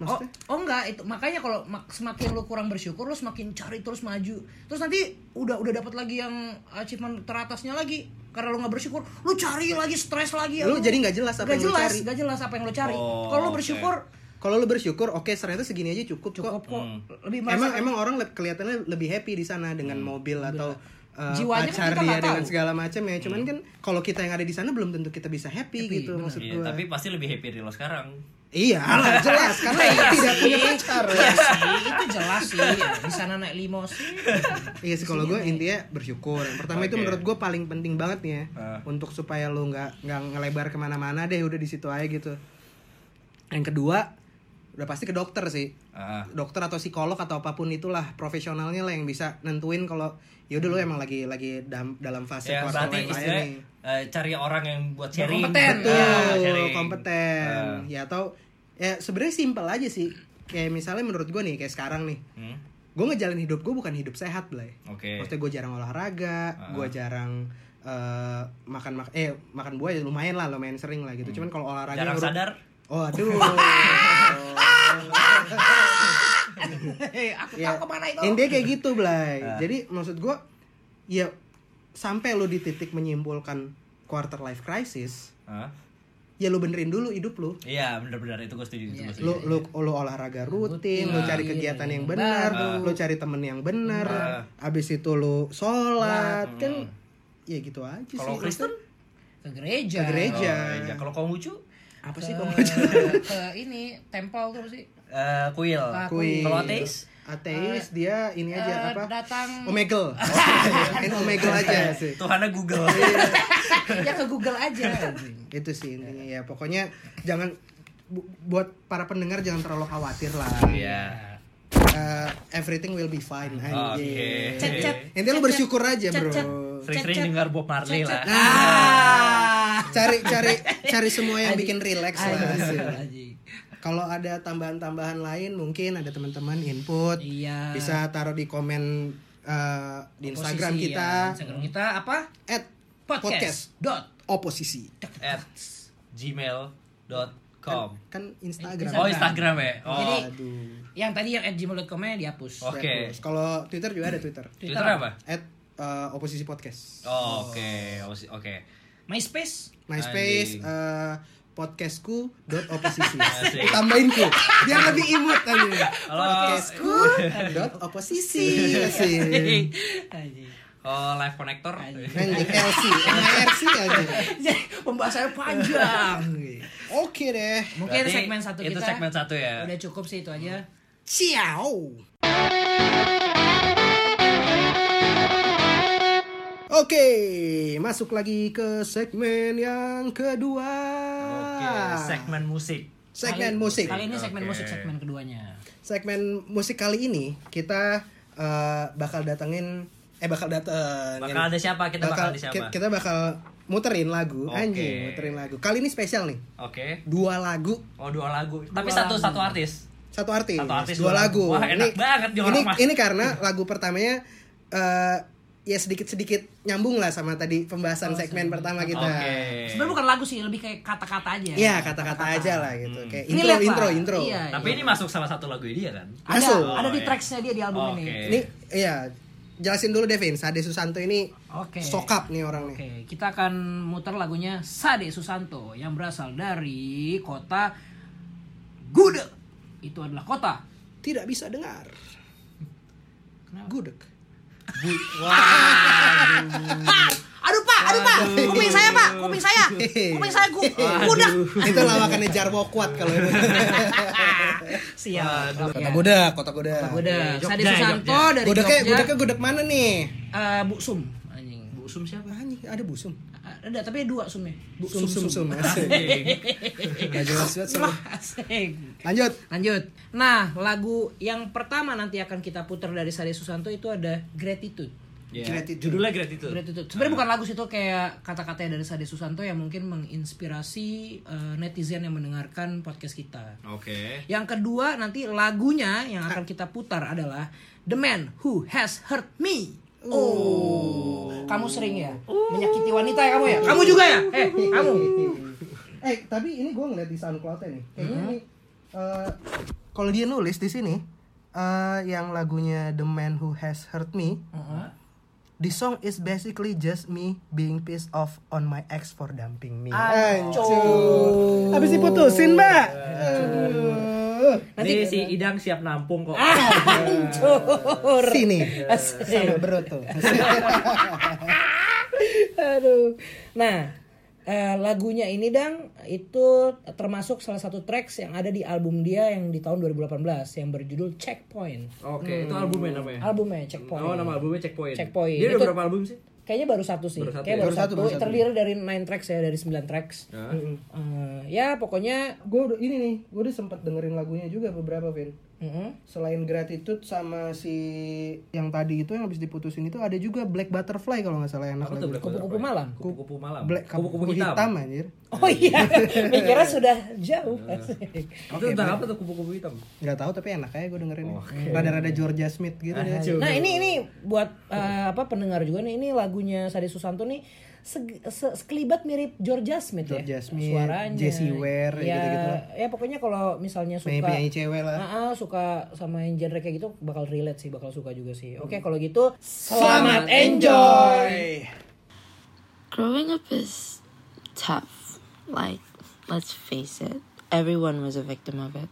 Oh, maksudnya oh enggak itu makanya kalau mak- semakin lu kurang bersyukur lu semakin cari terus maju terus nanti udah udah dapat lagi yang achievement teratasnya lagi karena lu nggak bersyukur lu cari lagi stres lagi Lu aduh. jadi nggak jelas apa Nggak yang lu jelas, cari. nggak jelas apa yang lu cari Oh, kalau lu oke. bersyukur kalau lu bersyukur, oke ternyata segini aja cukup, kok. cukup Iya, kan? kok Hmm. lebih merasa Emang emang orang le- kelihatannya lebih happy di sana dengan Hmm. mobil atau uh, pacar Jiwanya kan kita dia nggak dengan tahu. segala macam ya. Hmm. Cuman kan kalau kita yang ada di sana belum tentu kita bisa happy, Happy, gitu benar. maksud Iya, gua. tapi pasti lebih happy dari lo sekarang. Iya, lah, jelas karena lu tidak punya pacar. Iya sih, itu jelas sih di sana naik limosin Iya sih kalau gue intinya bersyukur. Yang pertama itu Oke. menurut gue paling penting banget nih ya, Ah. untuk supaya lo nggak nggak ngelebar kemana-mana deh udah di situ aja gitu. Yang kedua udah pasti ke dokter sih, Ah. dokter atau psikolog atau apapun itulah profesionalnya lah yang bisa nentuin kalau yaudah lo emang lagi lagi dam- dalam fase Hmm. Ya, quarter berarti life aja istilahnya nih. eh, cari orang yang buat sharing. Kompeten. Betul, Ya, sharing. kompeten. Eh, Ya atau ya sebenarnya simpel aja sih. Kayak misalnya menurut gue nih kayak sekarang nih, hmm, gue ngejalin hidup gue bukan hidup sehat lah. Oke. Ah. Maksudnya gue jarang olahraga, gue jarang eh, makan mak eh makan buah ya lumayan lah, lumayan sering lah gitu. Cuman kalau olahraga Hmm. Jarang urut- sadar. Oh, aduh. eh aku ya, tahu kemana itu intinya kayak gitu, Blay. Ah. Jadi maksud gue ya sampai lu di titik menyimpulkan quarter life crisis, Ah. ya lu benerin dulu hidup lu. Iya, benar-benar itu gue setuju. Itu Iya. gue setuju. Lu, lu, lu olahraga rutin, lu Rutin, cari iya, kegiatan iya. yang benar, Baru. lu cari temen yang benar, abis itu lu sholat, kan ya gitu aja sih. Kalau Kristen? ke gereja Ke gereja. Oh, iya. Kalau kamu lucu, apa Ke- sih kamu ke ini temple tuh sih eh, kuil. Ah, Kuil. Kalau ateis? ateis dia ini aja Eh, apa datang omegel main omegel aja sih Tuhannya Google. ya ke Google aja anjing. itu sih intinya ya pokoknya jangan bu- buat para pendengar jangan terlalu khawatir lah Iya. Eh, everything will be fine anjing. Oke. Cet-cet. intinya lu bersyukur aja bro Cet-cet. Cet-cet. Sering-sering dengar Bob Marley lah. nah cari cari cari semua yang bikin relax lah Anjing, sih. anjing. kalau ada tambahan-tambahan lain mungkin ada teman-teman input Iya. bisa taruh di komen eh, di Instagram Posisi, kita ya. Instagram kita apa? at Podcast. Dot. oposisi at gmail.com kan Instagram Oh Instagram ya? Oh Jadi aduh yang tadi yang at gmail.com-nya dihapus. Oke. Terus. kalau Twitter juga ada Twitter Iya. Twitter apa? at eh, oposisi podcast Oh, oke Oke. oke MySpace. MySpace eh, podcastku dot oposisi Asik. tambahin ku biar lebih imut tadi Halo. podcastku dot oposisi Asik. Anjing. Oh live connector Anjing LC, MRC aja. Jadi, Pembahasannya panjang. Oke deh. Mungkin Berarti segmen satu itu kita. segmen satu ya? Udah cukup sih itu aja. Hmm. Ciao. Oke, masuk lagi ke segmen yang kedua. Oke Ah. segmen musik Segmen Kali- musik. Kali ini segmen Oke. musik segmen keduanya. Segmen musik kali ini kita eh, bakal datengin eh bakal dateng Bakal ada siapa? Kita bakal ada siapa? ki- kita bakal muterin lagu Oke. anjing muterin lagu kali ini spesial nih Oke. dua lagu Oh dua lagu. Tapi satu satu artis. satu artis, Satu artis, dua dua lagu. lagu. Wah, enak banget di orang ini, mas. ini karena lagu pertamanya eh ya sedikit-sedikit nyambung lah sama tadi pembahasan segmen pertama kita. Oh, Oke. Sebenarnya bukan lagu sih, lebih kayak kata-kata aja. Iya, kata-kata aja lah gitu. Hmm. Kayak Ini intro lihat, intro Pak. intro. Iya. Tapi ini masuk salah satu lagu dia kan? Ada, Masuk. ada di Oh, iya. tracksnya dia di album ini. Oke. Ini iya, jelasin dulu Devin, Sade Susanto ini Oke. sokap nih orang nih. Oke, kita akan muter lagunya Sade Susanto yang berasal dari kota Gude. Itu adalah kota. Tidak bisa dengar. Gudeg. Pak, aduh Pak, aduh Pak, kuping saya Pak, kuping saya, kuping saya gu gudeg. itu lawakannya Jarwo kuat kalau ini. Siap. Kota Ya. gudeg, kota gudeg. Gudeg. Jogja, Sade Susanto Jogja. dari Gudegnya, Jogja. gudegnya gudeg mana nih? Eh, Bu Sum. Anjing. Bu Sum siapa? Anjing, ada busum. Ada tapi dua sumnya. Bu Sum sum sum. asik. Nggak jelas banget, sum. Wah, asik. Lanjut. Lanjut. Nah, lagu yang pertama nanti akan kita putar dari Sade Susanto itu ada Gratitude. Ya. Gratitude. Judulnya Gratitude. Gratitude. Sebenarnya bukan lagu sih itu kayak kata-kata dari Sade Susanto yang mungkin menginspirasi eh, netizen yang mendengarkan podcast kita. Oke. Yang kedua nanti lagunya yang akan kita putar adalah The Man Who Has Hurt Me. Oh, kamu sering ya menyakiti wanita ya kamu ya? Kamu juga ya? Eh, kamu. Eh, tapi ini gue ngeliat di SoundCloud-nya nih. Kayaknya ini eh, kalau dia nulis di sini eh, yang lagunya The Man Who Has Hurt Me. The song is basically just me being pissed off on my ex for dumping me. Ancur. Habis diputusin, Mbak. Aduh. Nanti si Idang siap nampung kok. Hancur. Sini. Asik. Sama perut tuh. Aduh. Nah, eh, lagunya ini dang itu termasuk salah satu tracks yang ada di album dia yang di tahun 2018 yang berjudul Checkpoint. Oke, itu albumnya namanya. Albumnya Checkpoint. Oh, nama albumnya Checkpoint. Checkpoint. Dia udah Itu- berapa album sih? Kayaknya baru satu sih. Baru satu Kayak ya? baru, Baru satu, satu. baru satu. Terdiri dari 9 tracks ya, dari 9 tracks. Mm-mm. Eh, ya pokoknya gue udah ini nih, gue udah sempet dengerin lagunya juga beberapa, Vin. mm-mm. Selain gratitude sama si yang tadi itu yang habis diputusin itu ada juga Black Butterfly kalau nggak salah yang anak Apa tuh lagu. Black kupu-kupu Butterfly? malam. Kupu-kupu malam. Black kupu-kupu hitam. anjir. Oh ya. iya, mikirnya sudah jauh. Asik. Itu tentang apa tuh kupu-kupu hitam? Nggak tahu tapi enak aja gue dengerin. Rada-rada Georgia Smith gitu deh. Nah ini ini buat eh, apa pendengar juga nih ini lagunya Sade Susanto nih seg- se- sekelibat mirip Georgia Smith Georgia ya Smith, suaranya Jessie Ware, ya, gitu-gitu lah. ya pokoknya kalau misalnya suka Penyanyi- penyanyi cewek lah. Ah, ah, suka sama yang genre kayak gitu bakal relate sih bakal suka juga sih oke kalau gitu Hmm. Selamat enjoy. Growing up is tough. Like, let's face it, everyone was a victim of it.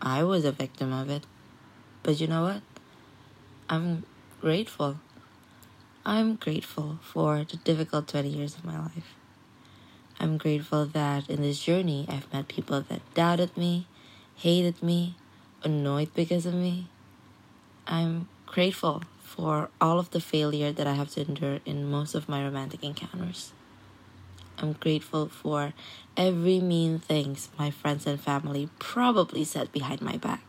I was a victim of it. But you know what? I'm grateful. I'm grateful for the difficult 20 years of my life. I'm grateful that in this journey I've met people that doubted me, hated me, annoyed because of me. I'm grateful for all of the failure that I have to endure in most of my romantic encounters. I'm grateful for every mean things my friends and family probably said behind my back.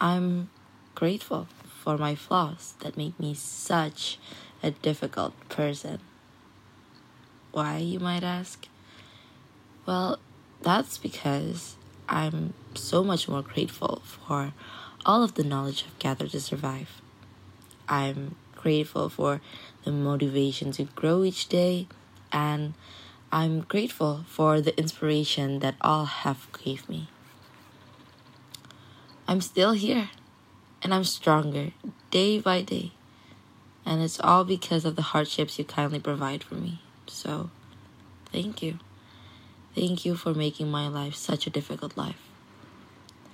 I'm grateful for my flaws that make me such a difficult person. Why, you might ask? Well, that's because I'm so much more grateful for all of the knowledge I've gathered to survive. I'm grateful for the motivation to grow each day, and I'm grateful for the inspiration that all have gave me. I'm still here, and I'm stronger day by day, and it's all because of the hardships you kindly provide for me. So, thank you. Thank you for making my life such a difficult life.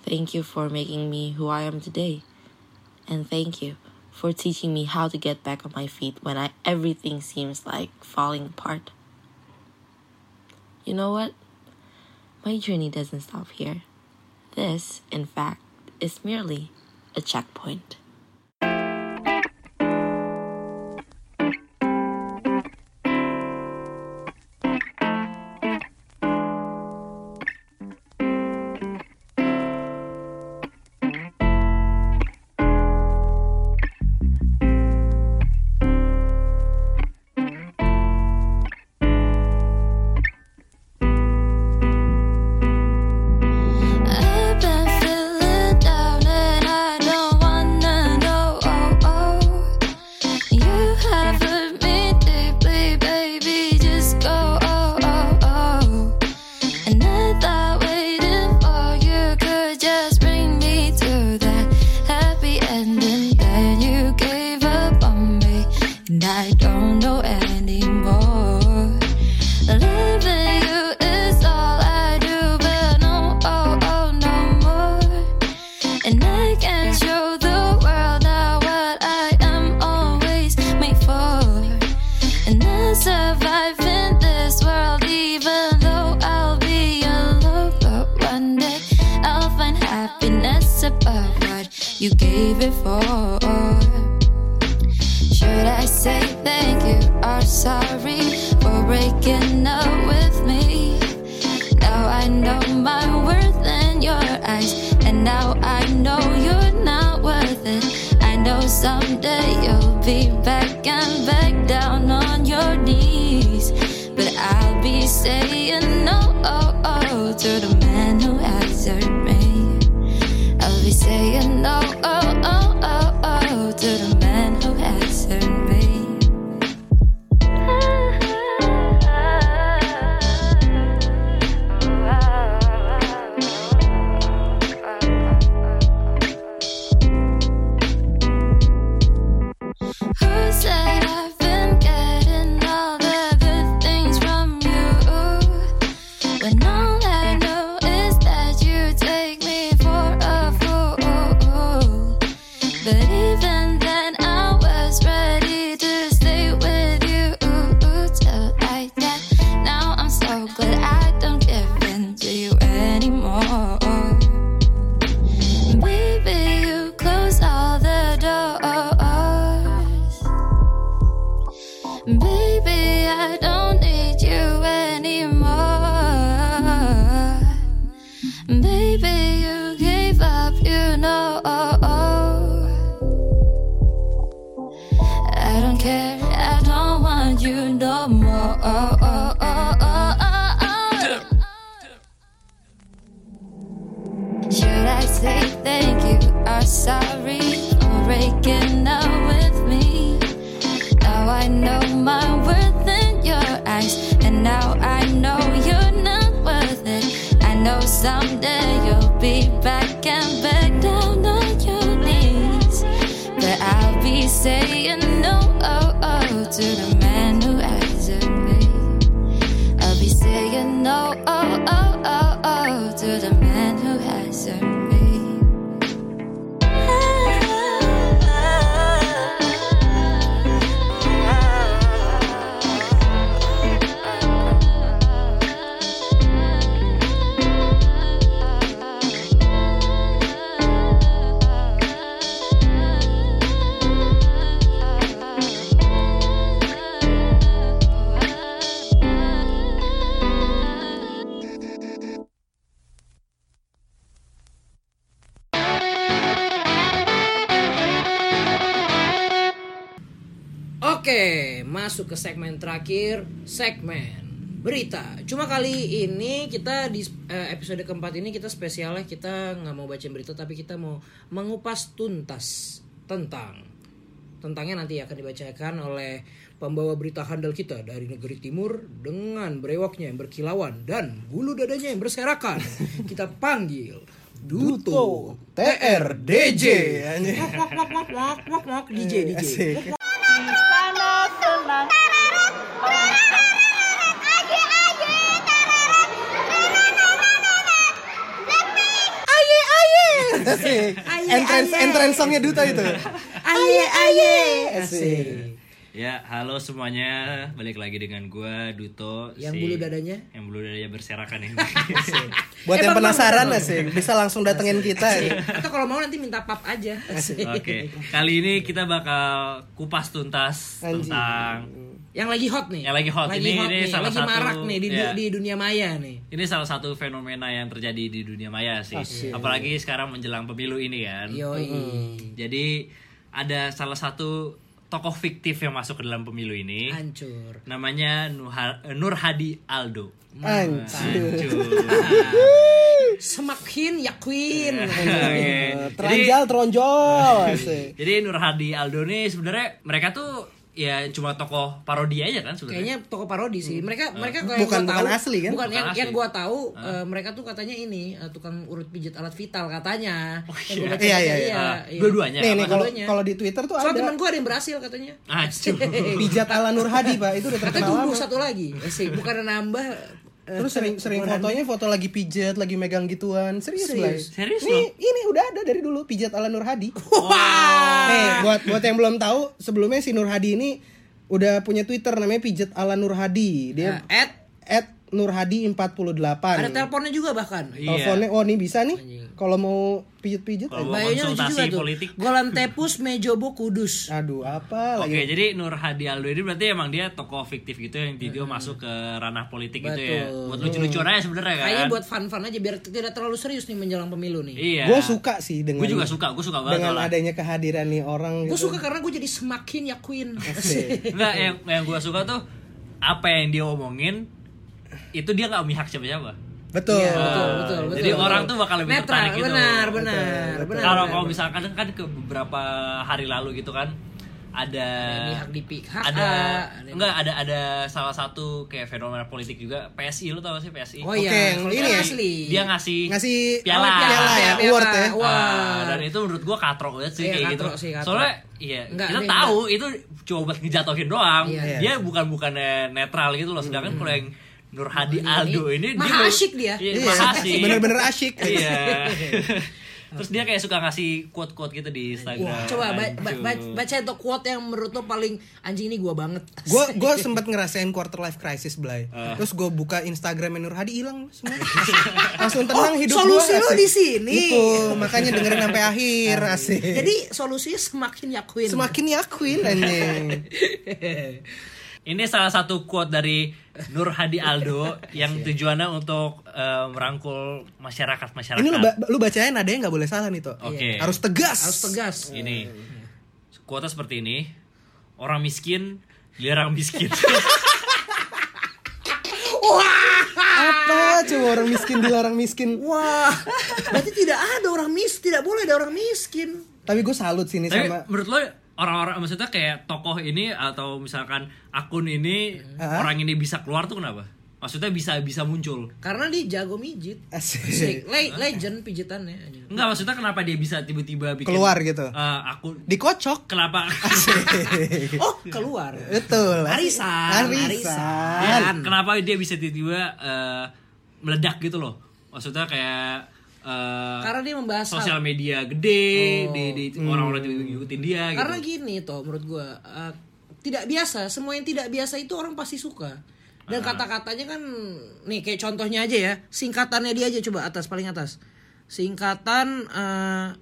Thank you for making me who I am today. And thank you for teaching me how to get back on my feet when I, everything seems like falling apart. You know what? My journey doesn't stop here. This, in fact, is merely a checkpoint. Oh, oh, oh, love what you gave it for. Should I say thank you or sorry for breaking up with me? Now I know my worth in your eyes, and now I know you're not worth it. I know someday you'll be back and back down on your knees, but I'll be saying no oh, to the man who answered me. I'll be saying no oh, oh, oh, oh, to the man who answered me. Who said I've been getting all the good things from you? When all I know is that you take me for a fool. But even then, I was ready to stay with you till I die. Now I'm so glad I don't give in to you anymore. Baby, you close all the doors. Baby, I don't need you anymore. Baby, you gave up, you know. I don't care, I don't want you no more. Should I say thank you or sorry for breaking up with me? Now I know my worth in your eyes, and now I know you're not worth it. I know someday you'll be back and back down on your knees, but I'll be saying no oh, oh, to the man who answered me. I'll be saying no, oh, oh, oh, oh, to the man who has hurt me. Ah, Oke, masuk ke segmen terakhir, segmen berita. Cuma kali ini kita di eh, episode keempat ini kita spesialnya kita nggak mau bacain berita tapi kita mau mengupas tuntas tentang tentangnya nanti akan dibacakan oleh pembawa berita handal kita dari negeri timur dengan brewoknya yang berkilauan dan bulu dadanya yang berserakan. Kita panggil Duto TRDJ Iya, anjing. Wak wak wak wak wak wak DJ DJ. Asik. Asik. Entrance entrance songnya Duto itu. Aye aye. Asik. Ya, halo semuanya. Balik lagi dengan gua Duto. Yang bulu dadanya? Yang bulu dadanya berserakan ini. Buat yang penasaran asik, bisa langsung datengin kita. Atau kalau mau nanti minta pap aja. Asik. Oke. Kali ini kita bakal kupas tuntas Anjing. tentang Yang lagi hot nih. Yang lagi hot. Lagi Ini- hot ini nih. salah lagi satu- marak nih di, ya. di dunia maya nih. ini salah satu fenomena yang terjadi di dunia maya sih. Apalagi sekarang menjelang pemilu ini kan. Yoi. Jadi ada salah satu tokoh fiktif yang masuk ke dalam pemilu ini. Hancur. Namanya Nuha- eh, Nur Hadi Aldo. Anjir. Hancur. Semakin yakin. Ya. Oke. Jadi Teranjal tronjol asik. jadi Nur Hadi Aldo nih sebenarnya mereka tuh ya cuma tokoh parodi aja kan sebenarnya. Kayaknya toko parodi sih. Mereka mereka kayak Bukan- gua bukan tahu- asli kan? Bukan, Hmm. Bukan yang asli. Ah. yang gua tahu eh, mereka tuh katanya ini eh, tukang urut pijat alat vital katanya. Yang gua baca- Iya, iya, iya. Oh, Ah, iya. dua-duanya. Nih nih kalau Dua-duanya. kalau di Twitter tuh Soal ada teman gua ada yang berhasil katanya. Hancur. pijat ala Nur Hadi Pak, itu udah Katanya terkenal tumbuh lama. satu lagi. Asik. Bukan nambah eh, Terus sering sering fotonya foto lagi pijat, lagi megang gituan. Serius, Blay. Serius Ini loh. ini udah ada dari dulu pijat ala Nur Hadi. Nih, buat buat yang belum tahu, sebelumnya Ya. si Nur Hadi ini udah punya Twitter namanya pijat ala Nur Hadi. Dia eh, at at Nur Hadi 48. Ada teleponnya juga Iya. bahkan. Teleponnya oh nih bisa nih. Kalau mau pijit-pijit aja. Kalau mau Bayarnya lucu juga konsultasi tuh. politik. Iya, Golan Tepus Mejobo Kudus. eh, Aduh, apa Oke, lagi? jadi Nur Hadi Aldo ini berarti emang dia tokoh fiktif gitu yang di dia masuk ke ranah politik gitu ya. Betul. Buat lucu-lucuan aja sebenarnya kan. Kayaknya buat fun-fun aja biar tidak terlalu serius nih menjelang pemilu nih. Iya. Gue suka sih dengan Gue juga suka, gue suka banget. dengan malah. adanya kehadiran nih orang Gue gitu. suka karena gue jadi semakin yakin. Asik. Enggak, yang yang gue suka tuh apa yang dia omongin itu dia nggak memihak siapa-siapa. Betul. Iya, betul, betul, betul. Jadi orang tuh bakal lebih Netral, tertarik gitu. Benar, benar, benar. Kalau benar. kalau misalkan kan ke beberapa hari lalu gitu kan ada Ini hak di pihak Nah, ada ah, ada- enggak ada ada salah satu kayak fenomena politik juga PSI lu tau gak sih PSI Oh Oke, iya, yang kalau ini kan ya? asli. dia ngasih Ngasih piala, piala, ya, piala. Iya. award ya. Ah, Wah. dan itu menurut gua katrok banget sih Iya, kayak gitu katrok sih, katrok. soalnya iya Enggak, kita ini tahu itu cuma buat ngejatohin doang Iya. dia bukan bukannya netral gitu loh sedangkan kalau yang Nur Hadi Iya, Ini- Aldo ini dia Maha baru- asyik dia. iya, Iya, maha asyik bener-bener asyik. iya terus dia kayak suka ngasih quote-quote gitu di Instagram Wah, coba ba ba Aduh. ba- baca itu quote yang menurut lo paling anjing ini gua banget. Gue gue sempat ngerasain quarter life crisis Blay. Ah. Terus gue buka Instagram Nur Hadi hilang semua. Langsung tenang Oh, hidup solusi gua, lu asik. di sini. Itu makanya dengerin sampai akhir asik. Jadi solusinya semakin yakin. semakin yakin anjing. Ini salah satu quote dari Nur Hadi Aldo Iya. yang tujuannya untuk eh, merangkul masyarakat-masyarakat. Ini lu, ba- lu bacain adanya nggak boleh salah nih toh. Oke. Harus tegas. harus tegas. Iya. Eh. Ini. Quote seperti ini. Orang miskin dilarang miskin. Apa coba orang miskin dilarang miskin? Wah, berarti tidak ada orang mis, tidak boleh ada orang miskin. Tapi gue salut sini Tapi sama menurut lo orang-orang maksudnya kayak tokoh ini atau misalkan akun ini Eh. orang ini bisa keluar tuh kenapa? Maksudnya bisa bisa muncul. Karena dia jago mijit. asik. Le- legend pijitannya. anjing. Enggak maksudnya kenapa dia bisa tiba-tiba bikin Keluar gitu. eh, akun Dikocok. kenapa? Oh, keluar. Betul. asik. Arisan, Arisan. Iya, kenapa dia bisa tiba-tiba eh, meledak gitu loh? Maksudnya kayak eh, Karena dia membahas hal- sosial media gede, di, di Oh. orang-orang Hmm. tiba-tiba ngikutin dia gitu. Karena gini toh menurut gua eh, tidak biasa, semua yang tidak biasa itu orang pasti suka. Dan Ah. kata-katanya kan nih kayak contohnya aja ya, singkatannya dia aja coba atas paling atas. Singkatan eh,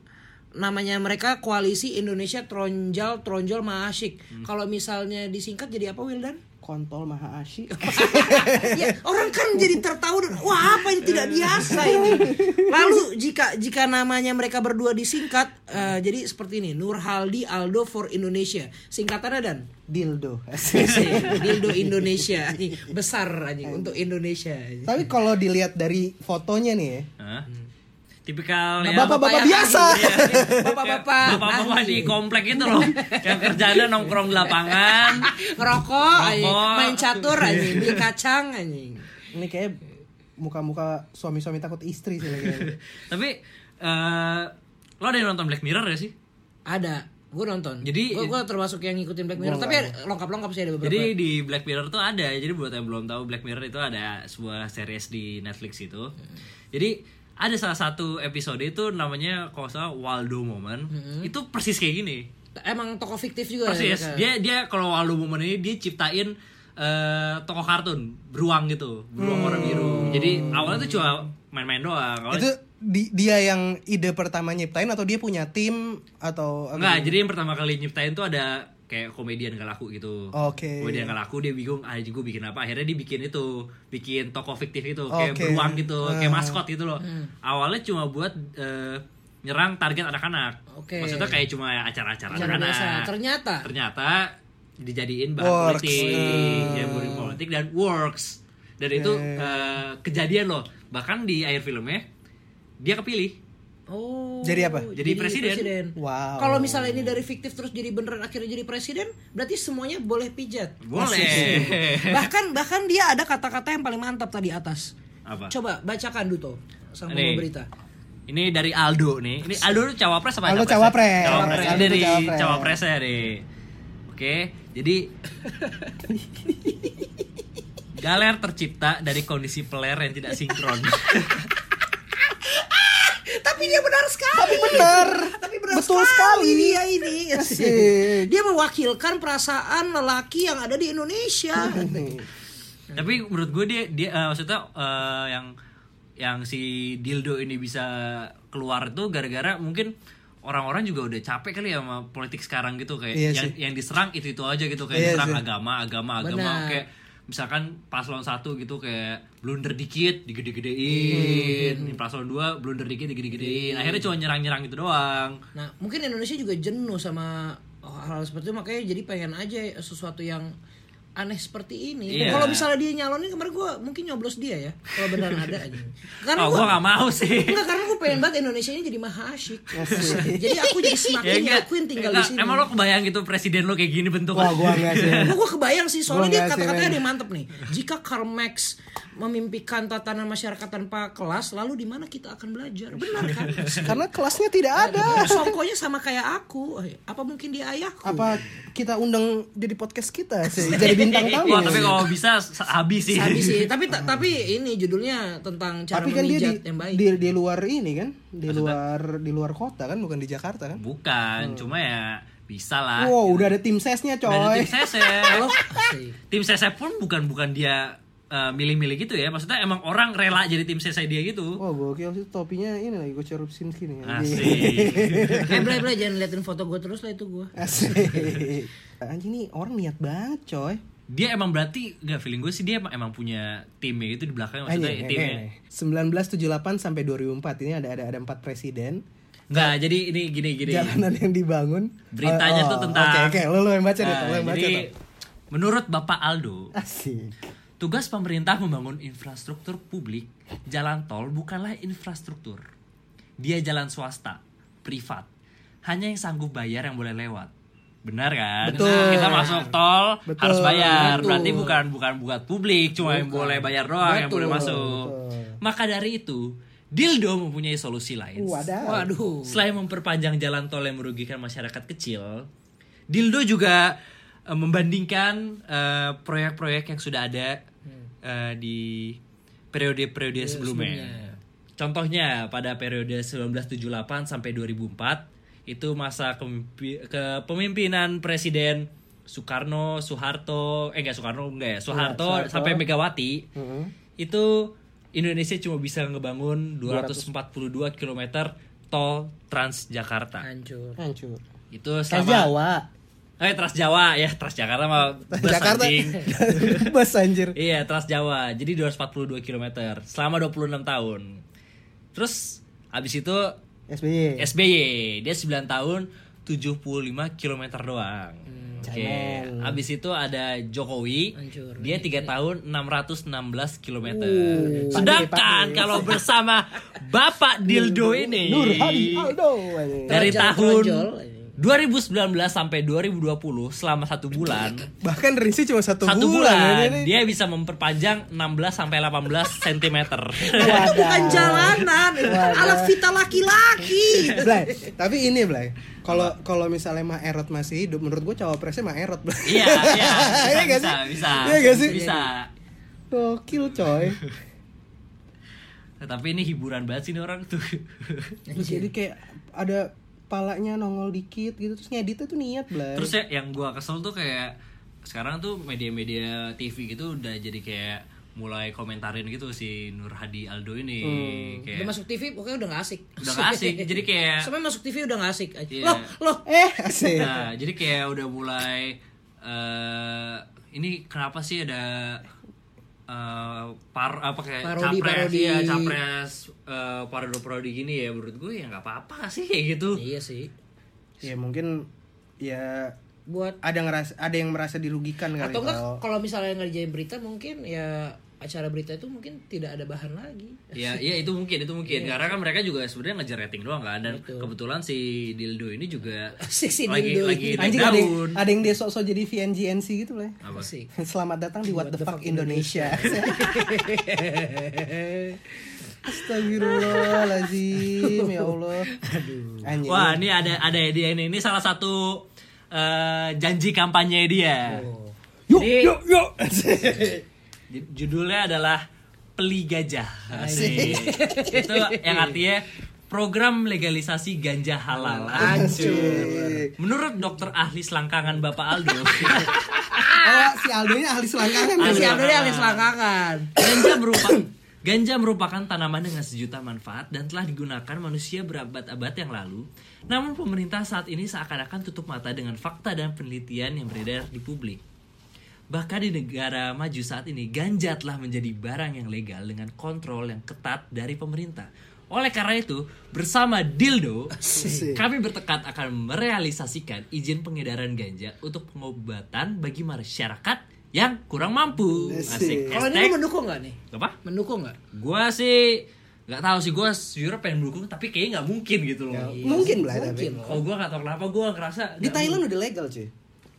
namanya mereka Koalisi Indonesia Tronjal Tronjol Maasik. Hmm. Kalau misalnya disingkat jadi apa Wildan? Kontol maha asyik. ya, orang kan jadi tertawa dan, wah apa ini tidak biasa ini lalu jika jika namanya mereka berdua disingkat eh, jadi seperti ini Nurhaldi Aldo for Indonesia singkatannya dan Dildo. Dildo Indonesia Anjing, besar anjing untuk Indonesia anjing. Iya, Tapi kalau dilihat dari fotonya nih ya. Hah? Tipikal ya, Bapak-bapak biasa. Nah, bapak-bapak iya. Nah, bapak-bapak anjing. di komplek itu loh, yang kerjanya nongkrong di lapangan. ngerokok anjing. Ngerokok. main catur anjing beli kacang anjing Ini kayak muka-muka suami-suami takut istri sih kayaknya. Tapi eh, lo ada yang nonton Black Mirror ya sih? ada gue nonton Jadi- gue termasuk yang ngikutin Black Mirror tapi lengkap-lengkap sih ada beberapa Jadi di Black Mirror tuh ada. Jadi buat yang belum tahu Black Mirror itu ada sebuah series di Netflix itu. Jadi ada salah satu episode itu namanya kalau nggak salah Waldo Moment. Itu persis kayak gini. emang tokoh fiktif juga ya Persis. mereka? Dia dia kalau Waldo Moment ini dia ciptain eh, tokoh kartun beruang gitu, beruang Hmm. warna biru. Jadi awalnya tuh cuma main-main doang. Awalnya Itu di- dia yang ide pertama nyiptain atau dia punya tim atau Enggak, jadi yang pertama kali nyiptain tuh ada kayak komedian gak laku gitu. Oke. Komedian gak laku dia bingung, ah gue bikin apa? Akhirnya dia bikin itu, bikin tokoh fiktif itu, kayak Oke. beruang gitu, Hmm. kayak maskot gitu loh. Awalnya cuma buat eh, nyerang target anak-anak. Oke. Maksudnya kayak cuma acara-acara Acara anak-anak. biasa. Ternyata? ternyata dijadiin bahan Works. Hmm. politik, ya, bahan politik dan works. Dan itu eh, kejadian loh. Bahkan di akhir filmnya dia kepilih. Oh. Jadi apa? Jadi presiden. Wow. Kalau misalnya ini dari fiktif terus jadi beneran akhirnya jadi presiden, berarti semuanya boleh pijat. Boleh. bahkan bahkan dia ada kata-kata yang paling mantap tadi atas. Apa? Coba bacakan Duto sang Nih. pembawa berita. Ini dari Aldo nih. Ini Aldo tuh cawapres apa Aldo cawapresnya? cawapres. Cawapres. Aldo Ini tuh dari cawapres. cawapresnya nih. Oke, jadi Galer tercipta dari kondisi peler yang tidak sinkron. Tapi dia benar sekali. Tapi benar. Tapi benar Betul sekali. dia ini. Asik. dia mewakilkan perasaan lelaki yang ada di Indonesia. Tapi menurut gue dia dia eh, maksudnya eh, yang yang si dildo ini bisa keluar tuh gara-gara mungkin orang-orang juga udah capek kali ya sama politik sekarang gitu kayak Iya yang sih. yang diserang itu itu aja gitu kayak Iya diserang sih. agama agama agama kayak misalkan paslon satu gitu kayak blunder dikit digede-gedein paslon dua blunder dikit digede-gedein akhirnya cuma nyerang-nyerang gitu doang Nah, mungkin Indonesia juga jenuh sama hal-hal seperti itu makanya jadi pengen aja sesuatu yang aneh seperti ini. Iya. Kalau misalnya dia nyalonin kemarin gue mungkin nyoblos dia ya. Kalau beneran ada aja. Karena oh gua- gue gak mau sih Enggak, karena gue pengen banget Indonesia ini jadi maha asyik. jadi aku jadi Ya semakin enggak. ngakuin tinggal di Enggak, sini. Emang lo kebayang gitu presiden lo kayak gini bentuknya? Wah, gua enggak sih. Gue gue Nah, kebayang sih soalnya Gua dia nggak sih, kata-katanya Ren. ada yang mantep nih. Jika Karl Marx memimpikan tatanan masyarakat tanpa kelas, lalu di mana kita akan belajar? Benar kan? Oh, Karena kelasnya tidak ada. Songkonya sama kayak aku. Oh, iya. Apa mungkin dia ayahku? Apa kita undang dia di podcast kita sih, jadi bintang tamu? Wah, tapi kalau bisa s- habis sih. Habis sih, tapi ta- tapi ini judulnya tentang cara Tapi kan dia di, memijat yang baik. di, di luar ini kan, di luar di luar kota kan, bukan di Jakarta kan? Bukan, cuma ya bisa lah. Wow, udah ada tim sesnya Dan coy. iya. Oh, tim sese. tim sese pun bukan bukan dia eh, milih-milih gitu ya. Maksudnya emang orang rela jadi tim sese dia gitu. Wah, gokil sih topinya ini lagi gue cerup ya. sim sini. Asik. Eh, Blay, Blay, jangan liatin foto gue terus lah itu gue. Asik. Anjing nih orang niat banget coy. Dia emang berarti nggak feeling gue sih dia emang, emang punya timnya itu di belakang maksudnya ya? Anjing, eh, timnya. anjing. 1978 sampai 2004 ini ada ada ada empat presiden. Nggak, jadi ini gini gini. Jalanan yang dibangun. Beritanya tuh Oh, tentang- Oke, oke, lo lo yang baca deh, Nah, lo yang baca. jadi deh. menurut Bapak Aldo, Asik. Tugas pemerintah membangun infrastruktur publik, jalan tol bukanlah infrastruktur. Dia jalan swasta, privat. Hanya yang sanggup bayar yang boleh lewat. Benar kan? Betul. Kita masuk tol Betul. harus bayar. Betul. Berarti bukan bukan buat publik, cuma yang boleh bayar doang yang boleh masuk. Betul. Maka dari itu, dildo mempunyai solusi lain. Wadah. Waduh. Selain memperpanjang jalan tol yang merugikan masyarakat kecil, Dildo juga eh, membandingkan eh, proyek-proyek yang sudah ada eh, di periode-periode sebelumnya. Contohnya pada periode 1978 sampai 2004 itu masa kemimpi- kepemimpinan Presiden Soekarno, Soeharto, eh enggak Soekarno enggak ya, Soeharto Hmm. sampai Megawati itu Indonesia cuma bisa ngebangun 242 km tol Trans Jakarta. Hancur. Hancur. Itu Trans selama Jawa. Eh Trans Jawa ya, Trans Jakarta mah bus, Jakarta. anjing. Bus anjir. Iya, Trans Jawa. Jadi 242 km selama 26 tahun. Terus habis itu SBY. SBY, dia 9 tahun 75 km doang. Oke, habis itu ada Jokowi. Hancur. Dia 3 tahun 616 km. Sedangkan kalau bersama Bapak Dildo ini Nur Hadi Aldo. anjing. dari Tronjol, tahun tronjol. 2019 sampai 2020 selama satu bulan Bahkan Rinsi cuma satu, satu bulan. bulan, ini- dia bisa memperpanjang 16 sampai 18 cm. Iya, Oh, Itu bukan jalanan, alat vital laki-laki. Blay, tapi ini Blay. Kalau kalau misalnya Ma Erot masih hidup, menurut gua cawapresnya Ma Erot. Blay. Iya, iya. Iya Bisa, nggak bisa, sih? bisa. Iya nggak sih? Bisa. Gokil coy. Tapi ini hiburan banget sih ini orang tuh. Terus jadi kayak ada palanya nongol dikit gitu terus ngeditnya tuh niat Blay. Terus ya yang gua kesel tuh kayak sekarang tuh media-media TV gitu udah jadi kayak mulai komentarin gitu si Nur Hadi Aldo ini Udah Hmm. kayak masuk TV pokoknya udah gak asik. Iya. Udah nggak asik, jadi kayak- Sampai masuk TV udah gak asik. Iya. Loh, loh. eh asik. Iya. Nah, jadi kayak udah mulai eh ini kenapa sih ada eh par apa kayak Parodi, capres parodi. ya capres eh parodi parodi gini ya menurut gue ya nggak apa-apa sih kayak gitu. Iya sih. Ya mungkin ya Buat ada ngeras ada yang merasa dirugikan kali atau enggak kalau- kalau misalnya ngerjain berita mungkin ya acara berita itu mungkin tidak ada bahan lagi. Ya, ya itu mungkin, itu mungkin. Iya. Karena kan mereka juga sebenarnya ngejar rating doang kan dan kebetulan si Dildo ini juga Si- si lagi Dildo ini. lagi naik Anjing ada yang, daun. ada yang dia sok-sok jadi VNGNC gitu Blay. Apa? Asik. Selamat datang di What, the, Fuck, Indonesia. Astagfirullahalazim ya Allah. Anjing. Wah, ini ada ada hadiah ini. Ini salah satu eh, janji kampanye dia. Oh. Yuk, yuk, yuk. Ju- Judulnya adalah Peli Gajah. Ah, iya. Asik. Itu yang artinya program legalisasi ganja halal. Hancur. Menurut dokter ahli selangkangan Bapak Aldo, Oh, si Aldo ini ahli selangkangan ya? Si Abdul ini ahli selangkangan. Ganja merupakan ganja merupakan tanaman dengan sejuta manfaat dan telah digunakan manusia berabad-abad yang lalu. Namun pemerintah saat ini seakan-akan tutup mata dengan fakta dan penelitian yang beredar di publik. Bahkan di negara maju saat ini, ganja telah menjadi barang yang legal dengan kontrol yang ketat dari pemerintah. Oleh karena itu, bersama Dildo, kami bertekad akan merealisasikan izin pengedaran ganja untuk pengobatan bagi masyarakat yang kurang mampu. Asik. Kalau ini Hashtag- lu mendukung nggak nih? apa? Mendukung nggak? Gua sih nggak tahu sih gua jujur pengen mendukung tapi kayaknya nggak mungkin gitu loh. Mungkin Nah, Ya, lah tapi. Kalau gua nggak tahu kenapa gua ngerasa Di Thailand udah legal cuy.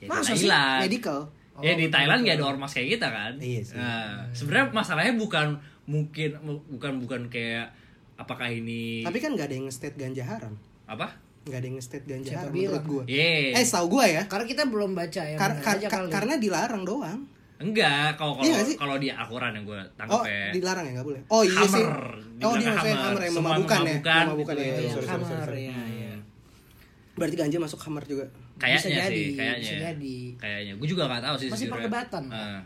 masa Sih, Thailand. Medical. ya di Thailand nggak ada ormas kayak kita kan. Iya sih. Nah, sebenarnya masalahnya bukan mungkin bukan bukan kayak apakah ini Tapi kan nggak ada yang nge-state ganja haram. apa? Nggak ada yang nge-state ganja Siapa haram bilang? menurut gua. Ye. Eh, tahu gua ya. Karena kita belum baca ya. Kar- bener kar- aja kar- kali. karena dilarang doang. Enggak, kalau kalau Iya nggak sih? kalau di Al-Quran yang gua tangkap Oh, ya. dilarang ya nggak boleh. Oh iya Hammer. sih. Oh, Dibilang dia maksudnya hammer yang Semua memabukan ya. memabukan, Memabukan ya. gitu. Sorry, Iya, sorry, sorry, kamar sorry. ya. ya. Berarti ganja masuk hammer juga. Kayaknya Bisa sih, jadi, kayaknya. bisa jadi. Kayaknya. Gue juga gak tahu sih Masih sejujurnya. perdebatan. Heeh.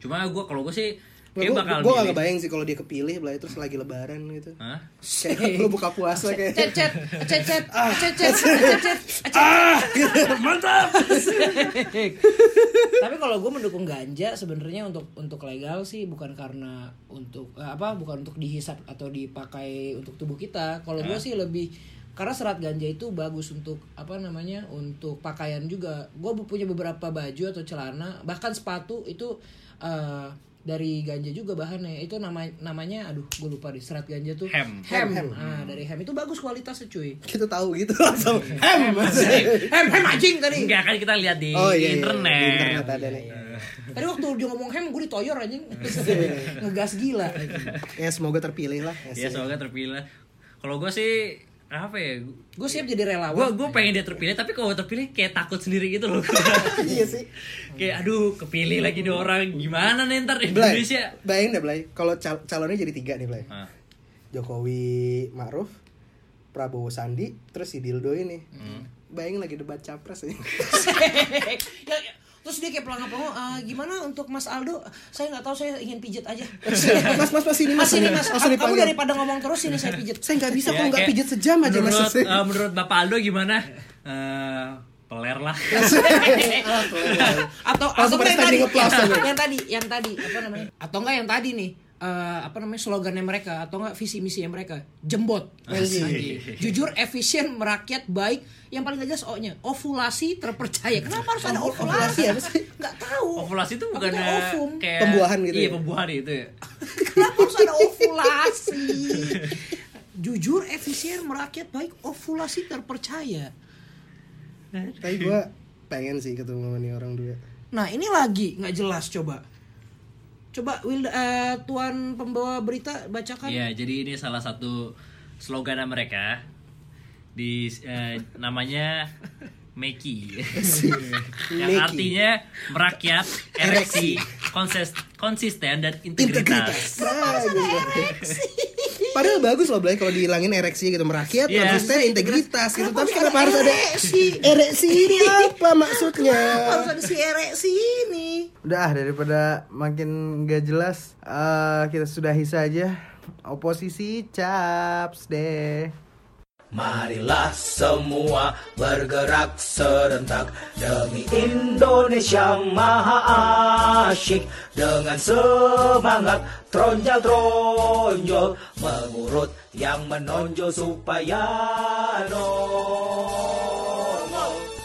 Cuma gue kalau gue sih kayak Gue bakal gue gak milih. kebayang sih kalau dia kepilih belai terus lagi lebaran gitu. Hah? Kayak lu buka puasa Cet kayak cet cet cet cet cet cet cet Tapi kalau gue mendukung ganja sebenarnya untuk untuk legal sih bukan karena untuk eh, apa bukan untuk dihisap atau dipakai untuk tubuh kita. Kalau gue sih lebih karena serat ganja itu bagus untuk apa namanya untuk pakaian juga. Gue punya beberapa baju atau celana bahkan sepatu itu eh, dari ganja juga bahannya. Itu nama namanya aduh gue lupa deh serat ganja tuh Hem. Hem. Ah, dari hem itu bagus kualitasnya cuy. kita tahu gitu langsung. Iya. Hem. Hem hem anjing tadi. Enggak kan kita lihat di, Oh di iya, iya, internet. Iya, Di internet ada nih. Tadi waktu dia ngomong hem gue ditoyor anjing. Ngegas gila. Ya semoga terpilih lah. Ya, Ya sih. semoga terpilih. Kalau gue sih apa ya? Gue siap jadi Gue relawan. ya. gue pengen dia terpilih tapi kalau terpilih kayak takut sendiri gitu loh. Iya sih. kayak aduh kepilih lagi nih orang gimana nih ntar Blay. Indonesia. Bayangin deh Blay, kalau cal- calonnya jadi tiga nih Blay. Ah. Jokowi Ma'ruf, Prabowo Sandi, terus si Dildo ini. Hmm. Bayangin lagi debat capres ya. Ya, ya. Terus dia kayak pelangga-pelangga, "Ah, gimana untuk Mas Aldo? Saya nggak tahu, saya ingin pijit aja. mas, mas, mas ini mas. Mas ini mas, Mas, kamu dipanggil. daripada ngomong terus ini saya pijit. Saya nggak bisa Ya, kalau nggak kayak pijit sejam aja mas. Menurut eh, menurut Bapak Aldo gimana? Eh, peler lah. Iya. Ah, atau atau Langsung pada yang tadi, standing applause yang, aja. yang tadi, yang tadi apa namanya? Atau enggak yang tadi nih? eh, apa namanya slogannya mereka atau enggak visi misinya mereka jembot Anjing. jujur efisien merakyat baik yang paling gak jelas o nya ovulasi terpercaya kenapa harus ada ovulasi ya nggak tahu Ovulasi itu bukan eh, Maksudnya ovum. kayak kan Pembuahan gitu Iya, ya? pembuahan itu ya. Kenapa harus ada ovulasi? Jujur, efisien, merakyat, baik, ovulasi terpercaya. Tapi gue pengen sih ketemu sama nih orang dua. Nah, ini lagi nggak jelas coba. Coba Wilda, eh, tuan pembawa berita bacakan. Iya, jadi ini salah satu slogan mereka di eh, namanya Meki yang Meki. artinya merakyat, ereksi, konses- konsisten dan integritas. Nah, gila. Padahal bagus loh Blay kalau dihilangin ereksi gitu merakyat, Iya. konsisten, integritas gitu. Tapi kenapa harus ada ereksi ini apa maksudnya? Harus ada si ereksi ini. Udah ah, daripada makin gak jelas eh, Kita sudahi saja Oposisi caps deh Marilah semua bergerak serentak demi Indonesia maha asyik dengan semangat tronjol-tronjol mengurut yang menonjol supaya no